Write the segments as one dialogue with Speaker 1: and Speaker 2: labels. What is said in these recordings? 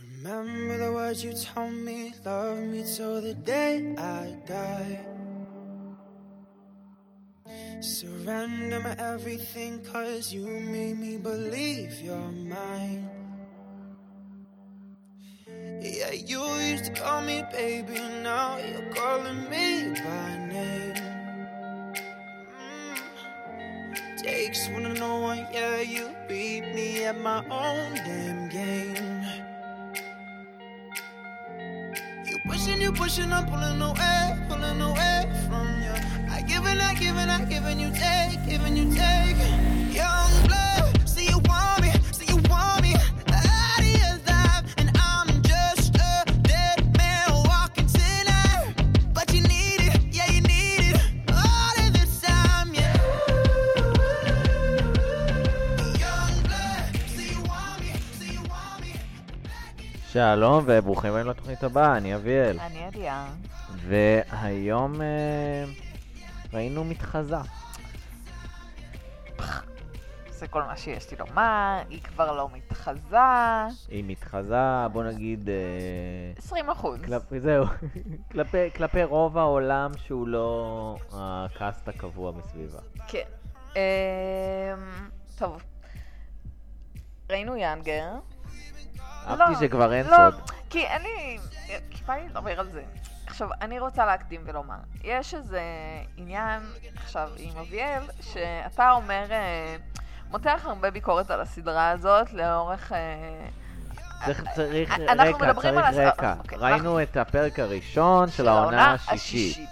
Speaker 1: Remember the words you told me, love me till the day I die. Surrender my everything, cause you made me believe you're mine. Yeah, you used to call me baby, now you're calling me by name. Mm. Takes one to know one, yeah, you beat me at my own damn game. You pushing, you pushing, I'm pulling away, pulling away from you. I giving, I giving, I giving, you take, giving, you take. Young blood, see you want me, see you want me. The idea is alive, and I'm just a dead man walking tonight. But you need it, yeah, you need it. All of this time, yeah. Young blood, see you want me, see you want me.
Speaker 2: שלום וברוכים הבאים לתוכנית הבאה, אני אביאל.
Speaker 3: אני אדיה.
Speaker 2: והיום אה, ראינו מתחזה.
Speaker 3: זה כל מה שיש לי לומר, היא כבר לא מתחזה.
Speaker 2: היא מתחזה, בוא נגיד... אה,
Speaker 3: 20 אחוז.
Speaker 2: כלפי, זהו, כלפי, כלפי רוב העולם שהוא לא הקאסט הקבוע מסביבה.
Speaker 3: כן. אמ, טוב. ראינו יאנגר.
Speaker 2: אהבתי שכבר אין
Speaker 3: לא,
Speaker 2: סוד.
Speaker 3: כי אין לי... כי בא לי לדבר על זה. עכשיו, אני רוצה להקדים ולומר. יש איזה עניין עכשיו עם אביאל, שאתה אומר... אה, מותח הרבה ביקורת על הסדרה הזאת לאורך... אה,
Speaker 2: צריך, צריך
Speaker 3: אנחנו
Speaker 2: רקע,
Speaker 3: מדברים על
Speaker 2: צריך
Speaker 3: הס-
Speaker 2: רקע.
Speaker 3: אוקיי,
Speaker 2: ראינו את הפרק הראשון של העונה השישית.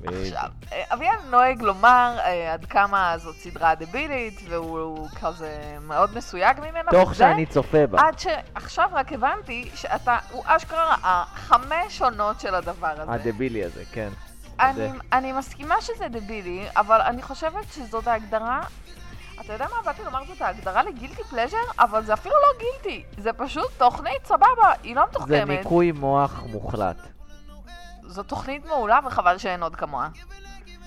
Speaker 2: בדיוק.
Speaker 3: עכשיו, אה, אביאל נוהג לומר אה, עד כמה זאת סדרה דבילית, והוא כזה מאוד מסויג ממנה.
Speaker 2: תוך
Speaker 3: וזה
Speaker 2: שאני צופה בה.
Speaker 3: עד שעכשיו רק הבנתי שאתה, הוא אשכרה ראה חמש עונות של הדבר הזה.
Speaker 2: הדבילי הזה, כן.
Speaker 3: אה, אני, אני מסכימה שזה דבילי, אבל אני חושבת שזאת ההגדרה... אתה יודע מה באתי לומר? זאת ההגדרה לגילטי פלז'ר, אבל זה אפילו לא גילטי. זה פשוט תוכנית סבבה, היא לא
Speaker 2: זה
Speaker 3: מתוחכמת.
Speaker 2: ניקוי מוח מוחלט.
Speaker 3: זו תוכנית מעולה וחבל שאין עוד כמוה.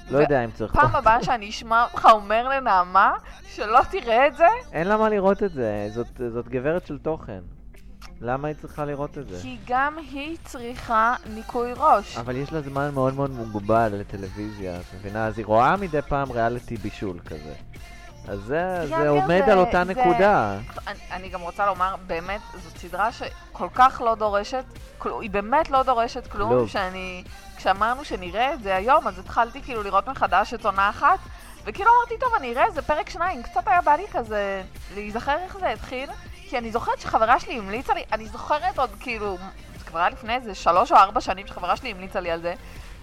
Speaker 2: לא
Speaker 3: ו-
Speaker 2: יודע אם צריך...
Speaker 3: פעם הבאה שאני אשמע אותך אומר לנעמה שלא תראה את זה,
Speaker 2: אין לה מה לראות את זה, זאת, זאת גברת של תוכן. למה היא צריכה לראות את זה?
Speaker 3: כי גם היא צריכה ניקוי ראש.
Speaker 2: אבל יש לה זמן מאוד מאוד מוגבל לטלוויזיה, את מבינה? אז היא רואה מדי פעם ריאליטי בישול כזה. אז זה,
Speaker 3: יא, יא,
Speaker 2: זה עומד
Speaker 3: זה-
Speaker 2: על אותה
Speaker 3: זה-
Speaker 2: נקודה.
Speaker 3: אני, אני גם רוצה לומר, באמת, זאת סדרה שכל כך לא דורשת, כל, היא באמת לא דורשת כלום,
Speaker 2: לא.
Speaker 3: שאני, כשאמרנו שנראה את זה היום, אז התחלתי כאילו לראות מחדש את עונה אחת, וכאילו אמרתי, טוב, אני אראה איזה פרק שניים, קצת היה בא לי כזה להיזכר איך זה התחיל, כי אני זוכרת שחברה שלי המליצה לי, אני זוכרת עוד כאילו, זה כבר היה לפני איזה שלוש או ארבע שנים שחברה שלי המליצה לי על זה,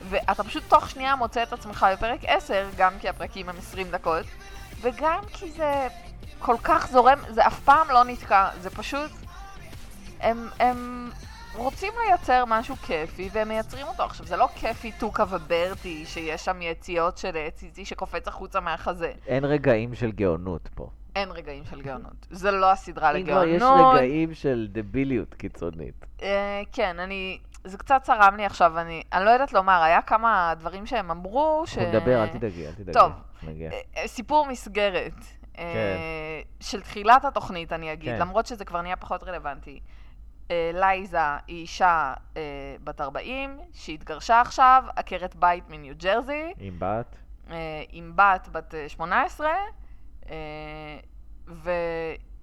Speaker 3: ואתה פשוט תוך שנייה מוצא את עצמך בפרק 10, גם כי הפרקים הם 20 דקות, וגם כי זה כל כך זורם, זה אף פעם לא נתקע, זה פשוט... הם, הם רוצים לייצר משהו כיפי, והם מייצרים אותו. עכשיו, זה לא כיפי טוקה וברטי, שיש שם יציאות של אה, ציצי שקופץ החוצה מהחזה.
Speaker 2: אין רגעים של גאונות פה.
Speaker 3: אין רגעים של גאונות. זה לא הסדרה
Speaker 2: אם כבר יש
Speaker 3: לגאונות.
Speaker 2: רגעים של דביליות קיצונית.
Speaker 3: אה, כן, אני... זה קצת צרם לי עכשיו, אני, אני לא יודעת לומר, היה כמה דברים שהם אמרו ש...
Speaker 2: אנחנו נדבר, אל תדאגי, אל תדאגי.
Speaker 3: טוב.
Speaker 2: נגיע.
Speaker 3: אה, אה, סיפור מסגרת. אה,
Speaker 2: כן.
Speaker 3: של תחילת התוכנית, אני אגיד,
Speaker 2: כן.
Speaker 3: למרות שזה כבר נהיה פחות רלוונטי. אה, לייזה היא אישה אה, בת 40, שהתגרשה עכשיו, עקרת בית מניו ג'רזי,
Speaker 2: עם בת,
Speaker 3: אה, עם בת בת אה, 18, אה,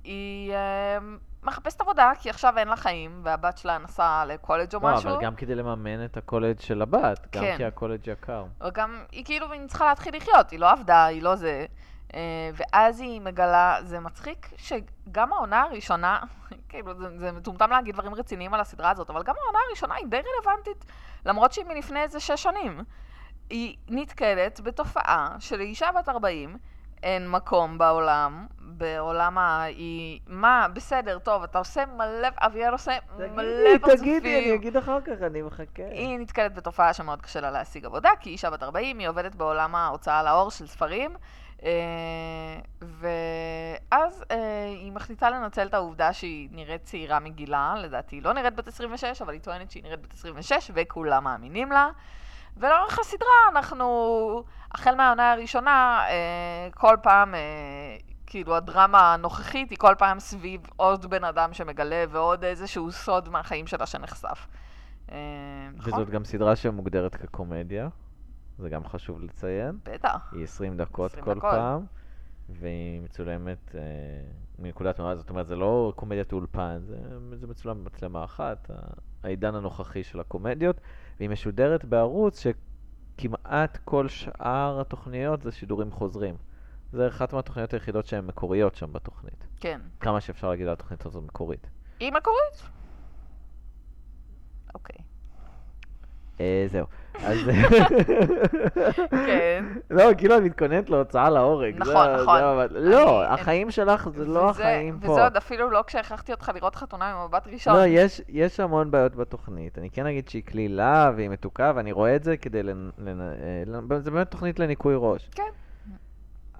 Speaker 3: והיא אה, מחפשת עבודה, כי עכשיו אין לה חיים, והבת שלה נסעה לקולג' או
Speaker 2: לא,
Speaker 3: משהו.
Speaker 2: אבל גם כדי לממן את הקולג' של הבת, גם
Speaker 3: כן.
Speaker 2: כי הקולג' יקר.
Speaker 3: וגם היא כאילו היא צריכה להתחיל לחיות, היא לא עבדה, היא לא זה. אה, ואז היא מגלה, זה מצחיק שגם העונה הראשונה, כאילו זה, זה מטומטם להגיד דברים רציניים על הסדרה הזאת, אבל גם העונה הראשונה היא די רלוונטית, למרות שהיא מלפני איזה שש שנים. היא נתקלת בתופעה שלאישה בת 40 אין מקום בעולם, בעולם ה... היא... מה, בסדר, טוב, אתה עושה מלא, אביאל עושה מלא פרצופים.
Speaker 2: אגיד אחר כך, אני מחכה.
Speaker 3: היא נתקלת בתופעה שמאוד קשה לה להשיג עבודה, כי היא אישה בת 40, היא עובדת בעולם ההוצאה לאור של ספרים, אה, ואז אה, היא מחליטה לנצל את העובדה שהיא נראית צעירה מגילה, לדעתי היא לא נראית בת 26, אבל היא טוענת שהיא נראית בת 26, וכולם מאמינים לה. ולאורך הסדרה אנחנו, החל מהעונה הראשונה, אה, כל פעם אה, כאילו, הדרמה הנוכחית היא כל פעם סביב עוד בן אדם שמגלה ועוד איזשהו סוד מהחיים שלה שנחשף. אה, נכון?
Speaker 2: וזאת גם סדרה שמוגדרת כקומדיה, זה גם חשוב לציין.
Speaker 3: בטח.
Speaker 2: היא 20 דקות
Speaker 3: 20
Speaker 2: כל
Speaker 3: דקות.
Speaker 2: פעם, והיא מצולמת אה, מנקודת מבט, זאת אומרת, זה לא קומדיית אולפן, זה, זה מצולם במצלמה אחת, ה- העידן הנוכחי של הקומדיות, והיא משודרת בערוץ שכמעט כל שאר התוכניות זה שידורים חוזרים. זה אחת מהתוכניות היחידות שהן מקוריות שם בתוכנית.
Speaker 3: כן.
Speaker 2: כמה שאפשר להגיד על התוכנית הזאת מקורית.
Speaker 3: היא מקורית? אוקיי.
Speaker 2: אה, זהו. אז...
Speaker 3: כן.
Speaker 2: לא, כאילו את מתכוננת להוצאה להורג. זה-
Speaker 3: נכון,
Speaker 2: זה
Speaker 3: נכון.
Speaker 2: המבט. לא,
Speaker 3: אני-
Speaker 2: החיים שלך זה לא
Speaker 3: וזה-
Speaker 2: החיים פה.
Speaker 3: וזה עוד אפילו לא כשהכרחתי אותך לראות חתונה ממבט ראשון.
Speaker 2: לא, יש, יש המון בעיות בתוכנית. אני כן אגיד שהיא קלילה והיא מתוקה, ואני רואה את זה כדי לנ... לנ... אה, לנ... זה באמת תוכנית לניקוי ראש.
Speaker 3: כן.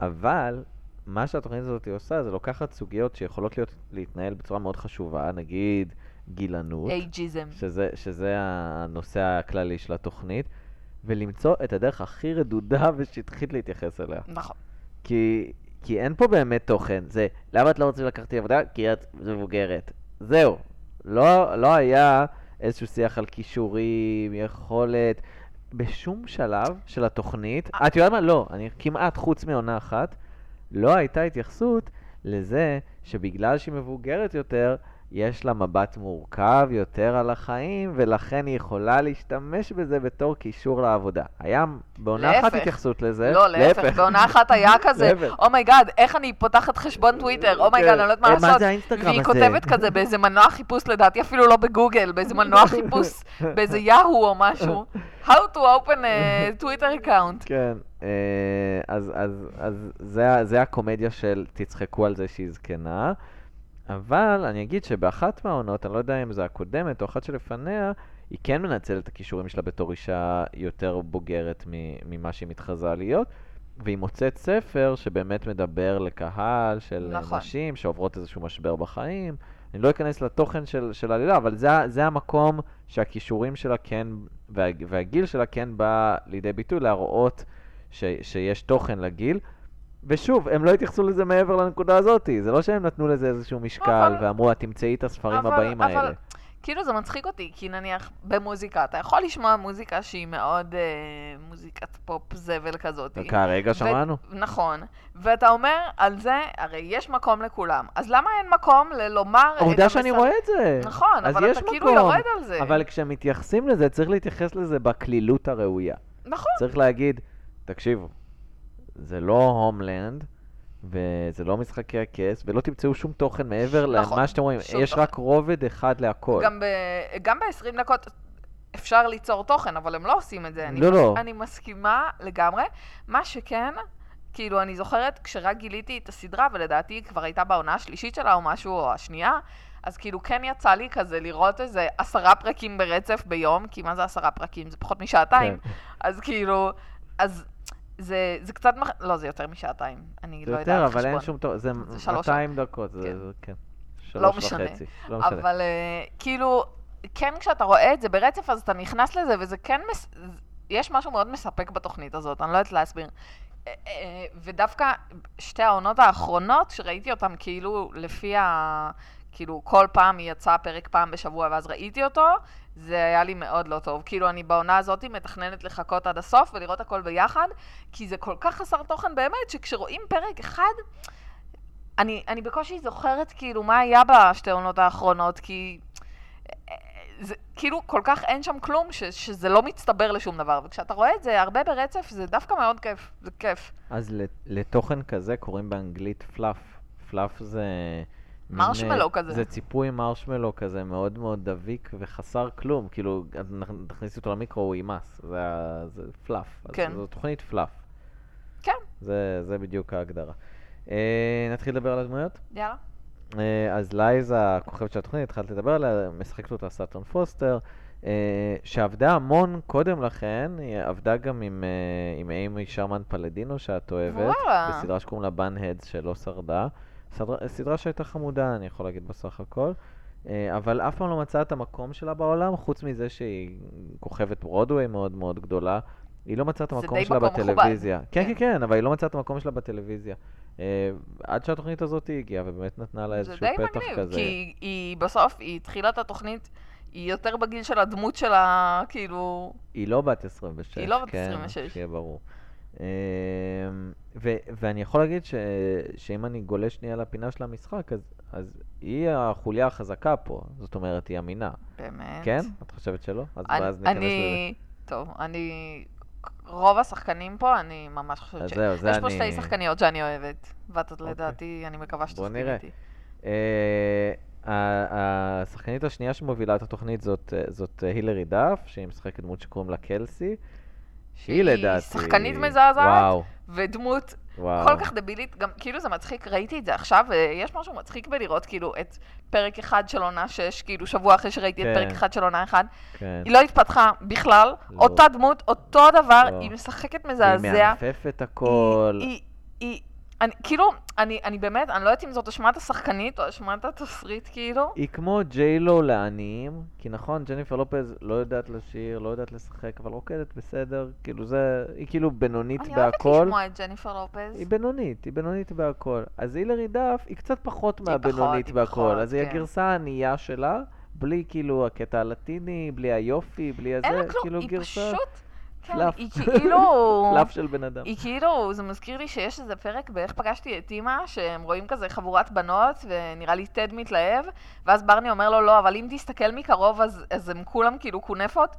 Speaker 2: אבל, מה שהתוכנית הזאת עושה, זה לוקחת סוגיות שיכולות להיות, להתנהל בצורה מאוד חשובה, נגיד גילנות.
Speaker 3: אייג'יזם.
Speaker 2: שזה, שזה הנושא הכללי של התוכנית, ולמצוא את הדרך הכי רדודה ושטחית להתייחס אליה.
Speaker 3: נכון.
Speaker 2: כי, כי אין פה באמת תוכן, זה למה את לא רוצה לקחת אותי לעבודה? כי את מבוגרת. זהו. לא, לא היה איזשהו שיח על כישורים, יכולת, בשום שלב של התוכנית.
Speaker 3: אה.
Speaker 2: את יודעת מה? לא, אני כמעט, חוץ מעונה אחת, לא הייתה התייחסות לזה שבגלל שהיא מבוגרת יותר, יש לה מבט מורכב יותר על החיים, ולכן היא יכולה להשתמש בזה בתור קישור לעבודה. היה בעונה אחת
Speaker 3: להפך.
Speaker 2: התייחסות לזה.
Speaker 3: לא, להפך, בעונה אחת היה כזה,
Speaker 2: להפך.
Speaker 3: אומייגאד, איך אני פותחת חשבון טוויטר, אומייגאד, אני לא יודעת מה
Speaker 2: אה,
Speaker 3: לעשות.
Speaker 2: מה זה האינסטגרם הזה?
Speaker 3: והיא כותבת כזה באיזה מנוע חיפוש, לדעתי אפילו לא בגוגל, באיזה מנוע חיפוש, באיזה יאהו או משהו. How to open a Twitter account.
Speaker 2: כן, אה, אז, אז, אז זה, ה- זה הקומדיה של תצחקו על זה שהיא זקנה, אבל אני אגיד שבאחת מהעונות, אני לא יודע אם זו הקודמת או אחת שלפניה, היא כן מנצלת את הכישורים שלה בתור אישה יותר בוגרת מ- ממה שהיא מתחזה להיות. והיא מוצאת ספר שבאמת מדבר לקהל של אה,
Speaker 3: נכון.
Speaker 2: נשים שעוברות איזשהו משבר בחיים. אני לא אכנס לתוכן של, של העלילה, אבל זה, ה- זה המקום שהכישורים שלה כן, וה, והגיל שלה כן בא לידי ביטוי להראות ש, שיש תוכן לגיל. ושוב, הם לא התייחסו לזה מעבר לנקודה הזאת, זה לא שהם נתנו לזה איזשהו משקל
Speaker 3: אבל-
Speaker 2: ואמרו, את תמצאי את הספרים
Speaker 3: אבל-
Speaker 2: הבאים
Speaker 3: אבל-
Speaker 2: האלה.
Speaker 3: כאילו זה מצחיק אותי, כי נניח במוזיקה, אתה יכול לשמוע מוזיקה שהיא מאוד אה, מוזיקת פופ זבל כזאת.
Speaker 2: כרגע אוקיי, שמענו.
Speaker 3: ו- נכון. ואתה אומר, על זה, הרי יש מקום לכולם. אז למה אין מקום ללומר... את
Speaker 2: העובדה שאני
Speaker 3: המסר-
Speaker 2: רואה את זה.
Speaker 3: נכון,
Speaker 2: אז
Speaker 3: אבל
Speaker 2: יש
Speaker 3: אתה כאילו
Speaker 2: מקום,
Speaker 3: יורד על זה.
Speaker 2: אבל כשמתייחסים לזה, צריך להתייחס לזה בקלילות הראויה.
Speaker 3: נכון.
Speaker 2: צריך להגיד, תקשיבו, זה לא הומלנד, וזה לא משחקי הכס, ולא תמצאו שום תוכן מעבר
Speaker 3: נכון,
Speaker 2: למה שאתם רואים.
Speaker 3: שום
Speaker 2: יש
Speaker 3: תוכן.
Speaker 2: רק רובד אחד להכל.
Speaker 3: גם, ב... גם ב-20 דקות אפשר ליצור תוכן, אבל הם לא עושים את זה. אני,
Speaker 2: לא,
Speaker 3: מס...
Speaker 2: לא.
Speaker 3: אני מסכימה לגמרי. מה שכן, כאילו, אני זוכרת כשרק גיליתי את הסדרה, ולדעתי היא כבר הייתה בעונה השלישית שלה או משהו, או השנייה, אז כאילו כן יצא לי כזה לראות איזה עשרה פרקים ברצף ביום, כי מה זה עשרה פרקים? זה פחות משעתיים.
Speaker 2: כן.
Speaker 3: אז כאילו, אז זה, זה קצת, מח... לא, זה יותר משעתיים. אני
Speaker 2: זה
Speaker 3: לא יודעת
Speaker 2: יותר,
Speaker 3: חשבון.
Speaker 2: אבל אין שום תוכן, זה
Speaker 3: זה שלוש-
Speaker 2: 200 דקות, זה
Speaker 3: כן.
Speaker 2: זה- כן. שלוש
Speaker 3: משנה.
Speaker 2: וחצי, לא משנה.
Speaker 3: אבל אה, כאילו, כן כשאתה רואה את זה ברצף, אז אתה נכנס לזה, וזה כן, מס... יש משהו מאוד מספק בתוכנית הזאת, אני לא יודעת להסביר. אה, אה, ודווקא שתי העונות האחרונות, שראיתי אותן כאילו לפי ה... כאילו כל פעם יצא פרק פעם בשבוע ואז ראיתי אותו, זה היה לי מאוד לא טוב. כאילו אני בעונה הזאת מתכננת לחכות עד הסוף ולראות הכל ביחד, כי זה כל כך חסר תוכן באמת, שכשרואים פרק אחד, אני, אני בקושי זוכרת כאילו מה היה בשתי עונות האחרונות, כי אה, זה כאילו כל כך אין שם כלום, ש, שזה לא מצטבר לשום דבר, וכשאתה רואה את זה הרבה ברצף, זה דווקא מאוד כיף, זה כיף.
Speaker 2: אז לת- לתוכן כזה קוראים באנגלית פלאף. פלאף זה... מין, אה,
Speaker 3: מרשמלו כזה.
Speaker 2: זה ציפוי מרשמלו כזה, מאוד מאוד דביק וחסר כלום. כאילו, את- נכ- תכניסי אותו למיקרו, הוא יימס. זה, ה- זה פלאף.
Speaker 3: כן.
Speaker 2: אז זו תוכנית פלאף.
Speaker 3: כן.
Speaker 2: זה, זה בדיוק ההגדרה. אה, נתחיל לדבר על הדמויות?
Speaker 3: יאללה.
Speaker 2: אה, אז לייזה, הכוכבת של התוכנית, התחלת לדבר עליה, משחקת אותה סאטון פוסטר, אה, שעבדה המון קודם לכן, היא עבדה גם עם, אה, עם אימי שרמן פלדינו שאת אוהבת,
Speaker 3: וואלה.
Speaker 2: בסדרה שקוראים לה בן-הדס שלא שרדה. סדרה, סדרה שהייתה חמודה, אני יכול להגיד בסך הכל. אה, אבל אף פעם לא מצאה את המקום שלה בעולם, חוץ מזה שהיא כוכבת ברודוויי מאוד מאוד גדולה. היא לא מצאה את
Speaker 3: זה
Speaker 2: המקום
Speaker 3: די
Speaker 2: שלה
Speaker 3: מקום מכובד.
Speaker 2: בטלוויזיה. כן,
Speaker 3: כן.
Speaker 2: כן, כן, אבל היא לא מצאה את המקום שלה בטלוויזיה. אה, עד שהתוכנית הזאת הגיעה, ובאמת נתנה לה
Speaker 3: זה
Speaker 2: איזשהו
Speaker 3: די
Speaker 2: פתח
Speaker 3: מגניב,
Speaker 2: כזה.
Speaker 3: כי היא- היא בסוף, היא התחילה את התוכנית, היא יותר בגיל של הדמות שלה, כאילו...
Speaker 2: היא לא בת 26.
Speaker 3: היא לא בת
Speaker 2: כן,
Speaker 3: 26.
Speaker 2: שיהיה ברור. אמ, ו- ואני יכול להגיד ש- שאם אני גולה שנייה לפינה של המשחק, אז, אז היא החוליה החזקה פה. זאת אומרת, היא אמינה.
Speaker 3: באמת.
Speaker 2: כן? את חושבת שלא? אז
Speaker 3: אני-
Speaker 2: ואז ניכנס לזה.
Speaker 3: אני... טוב, אני... רוב השחקנים פה, אני ממש חושבת
Speaker 2: אז
Speaker 3: ש...
Speaker 2: זהו, זה
Speaker 3: יש פה
Speaker 2: אני-
Speaker 3: שתי שחקניות שאני אוהבת, ואת
Speaker 2: אוקיי.
Speaker 3: לדעתי, אני מקווה שתסכים
Speaker 2: נראה.
Speaker 3: איתי.
Speaker 2: אה, ה- השחקנית השנייה שמובילה את התוכנית זאת, אה, זאת אה, הילרי דף, שהיא משחקת דמות שקוראים לה קלסי. שהיא
Speaker 3: שהיא
Speaker 2: לדעתי...
Speaker 3: שחקנית מזעזעת.
Speaker 2: וואו,
Speaker 3: ודמות
Speaker 2: וואו.
Speaker 3: כל כך דבילית, גם כאילו זה מצחיק, ראיתי את זה עכשיו, ויש משהו מצחיק בלראות כאילו את פרק אחד של עונה 6, כאילו שבוע אחרי שראיתי את
Speaker 2: כן.
Speaker 3: פרק אחד של עונה 1,
Speaker 2: כן.
Speaker 3: היא לא התפתחה בכלל,
Speaker 2: לא.
Speaker 3: אותה דמות, אותו דבר,
Speaker 2: לא.
Speaker 3: היא משחקת
Speaker 2: היא
Speaker 3: מזעזע.
Speaker 2: מענפפת הכל.
Speaker 3: היא, היא, אני, כאילו, אני, אני באמת, אני לא יודעת אם זאת אשמת השחקנית או אשמת התסריט, כאילו.
Speaker 2: היא כמו ג'יילו לעניים, כי נכון, ג'ניפר לופז לא יודעת לשיר, לא יודעת לשחק, אבל רוקדת בסדר, כאילו זה, היא כאילו בינונית
Speaker 3: אני אוהבת
Speaker 2: בהכל.
Speaker 3: לשמוע את ג'ניפר לופז.
Speaker 2: היא בינונית, היא בינונית בהכל. אז הילרי דף היא קצת פחות
Speaker 3: היא פחות,
Speaker 2: מהבינונית
Speaker 3: היא
Speaker 2: בהכל,
Speaker 3: פחות,
Speaker 2: אז היא
Speaker 3: כן.
Speaker 2: הגרסה הענייה שלה, בלי כאילו הקטע הלטיני, בלי היופי, בלי
Speaker 3: אין
Speaker 2: הזה,
Speaker 3: לה כלום,
Speaker 2: כאילו
Speaker 3: היא
Speaker 2: גרסה
Speaker 3: פשוט... כן,
Speaker 2: פלאף.
Speaker 3: היא כאילו...
Speaker 2: קלף של בן אדם.
Speaker 3: היא כאילו, זה מזכיר לי שיש איזה פרק באיך פגשתי את אימא, שהם רואים כזה חבורת בנות, ונראה לי טד מתלהב, ואז ברני אומר לו, לא, אבל אם תסתכל מקרוב, אז, אז הם כולם כאילו כונפות.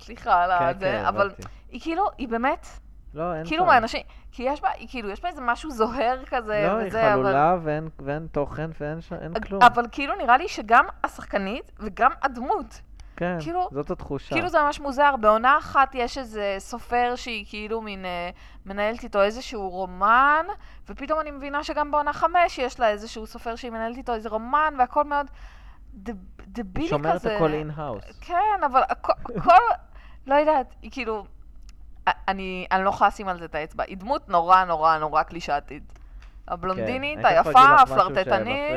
Speaker 3: סליחה על
Speaker 2: כן,
Speaker 3: הזה,
Speaker 2: כן,
Speaker 3: אבל
Speaker 2: הבנתי.
Speaker 3: היא כאילו, היא באמת,
Speaker 2: לא, אין
Speaker 3: כאילו
Speaker 2: טעם.
Speaker 3: מהאנשים, כי יש בה, היא כאילו, יש בה איזה משהו זוהר כזה,
Speaker 2: לא, היא
Speaker 3: וזה, אבל...
Speaker 2: חלולה ואין- ואין תוכן ואין ש- אין כלום.
Speaker 3: אבל כאילו נראה לי שגם השחקנית וגם הדמות,
Speaker 2: כן,
Speaker 3: כאילו-
Speaker 2: זאת התחושה.
Speaker 3: כאילו זה ממש מוזר, בעונה אחת יש איזה סופר שהיא כאילו מין אה, מנהלת איתו איזשהו רומן, ופתאום אני מבינה שגם בעונה חמש יש לה איזשהו סופר שהיא מנהלת איתו איזה רומן, והכל מאוד דב- דבילי
Speaker 2: היא
Speaker 3: כזה.
Speaker 2: שומרת הכל אין-האוס.
Speaker 3: כן, אבל הכ- כל, לא יודעת, היא כאילו, א- אני, אני לא יכולה לשים על זה את האצבע, היא דמות נורא נורא נורא קלישאתית.
Speaker 2: כן,
Speaker 3: הבלונדינית, היפה, הפלרטטנית,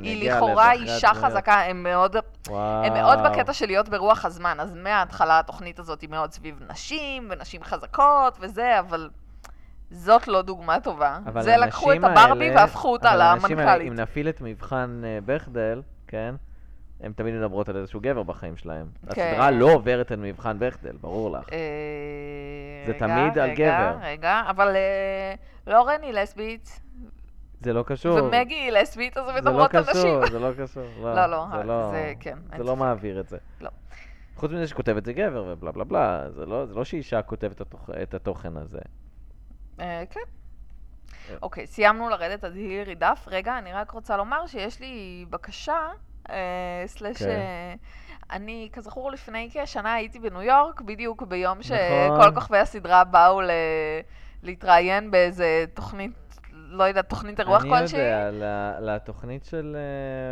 Speaker 3: היא לכאורה אישה חזקה, הם מאוד הם מאוד בקטע של להיות ברוח הזמן, אז מההתחלה התוכנית הזאת היא מאוד סביב נשים, ונשים חזקות וזה, אבל זאת לא דוגמה טובה.
Speaker 2: אבל
Speaker 3: זה לקחו את
Speaker 2: האנשים
Speaker 3: הברבי
Speaker 2: האלה-
Speaker 3: והפכו אותה
Speaker 2: אבל האנשים האלה,
Speaker 3: למנכ"לית.
Speaker 2: אם נפעיל את מבחן אה, בכדל, כן? הן תמיד מדברות על איזשהו גבר בחיים שלהם.
Speaker 3: כן.
Speaker 2: הסדרה לא עוברת את מבחן בכדל, ברור לך.
Speaker 3: אה,
Speaker 2: זה
Speaker 3: רגע,
Speaker 2: תמיד על
Speaker 3: רגע,
Speaker 2: גבר.
Speaker 3: רגע, אבל אה, לורן היא לסבית,
Speaker 2: זה לא קשור.
Speaker 3: ומגי היא לסבית, אז הן
Speaker 2: זה לא
Speaker 3: מדברות על נשים.
Speaker 2: קשור, זה לא קשור.
Speaker 3: לא, לא,
Speaker 2: זה לא,
Speaker 3: זה כן, אין
Speaker 2: זה לא
Speaker 3: ספק.
Speaker 2: מעביר את זה.
Speaker 3: לא.
Speaker 2: חוץ מזה שכותב את זה גבר ובלה בלה בלה, זה לא, זה לא שאישה כותבת את התוכ- את התוכן הזה.
Speaker 3: אה, כן.
Speaker 2: אה.
Speaker 3: אוקיי, סיימנו לרדת עד הילרי דף. רגע, אני רק רוצה לומר שיש לי בקשה, אה, סלאש...
Speaker 2: כן.
Speaker 3: אה, אני, כזכור, לפני כשנה הייתי בניו יורק, בדיוק ביום
Speaker 2: נכון.
Speaker 3: שכל כוכבי הסדרה באו ל... להתראיין באיזה תוכנית, לא יודעת, תוכנית אירוח כלשהי.
Speaker 2: אני יודע, ל- לתוכנית של...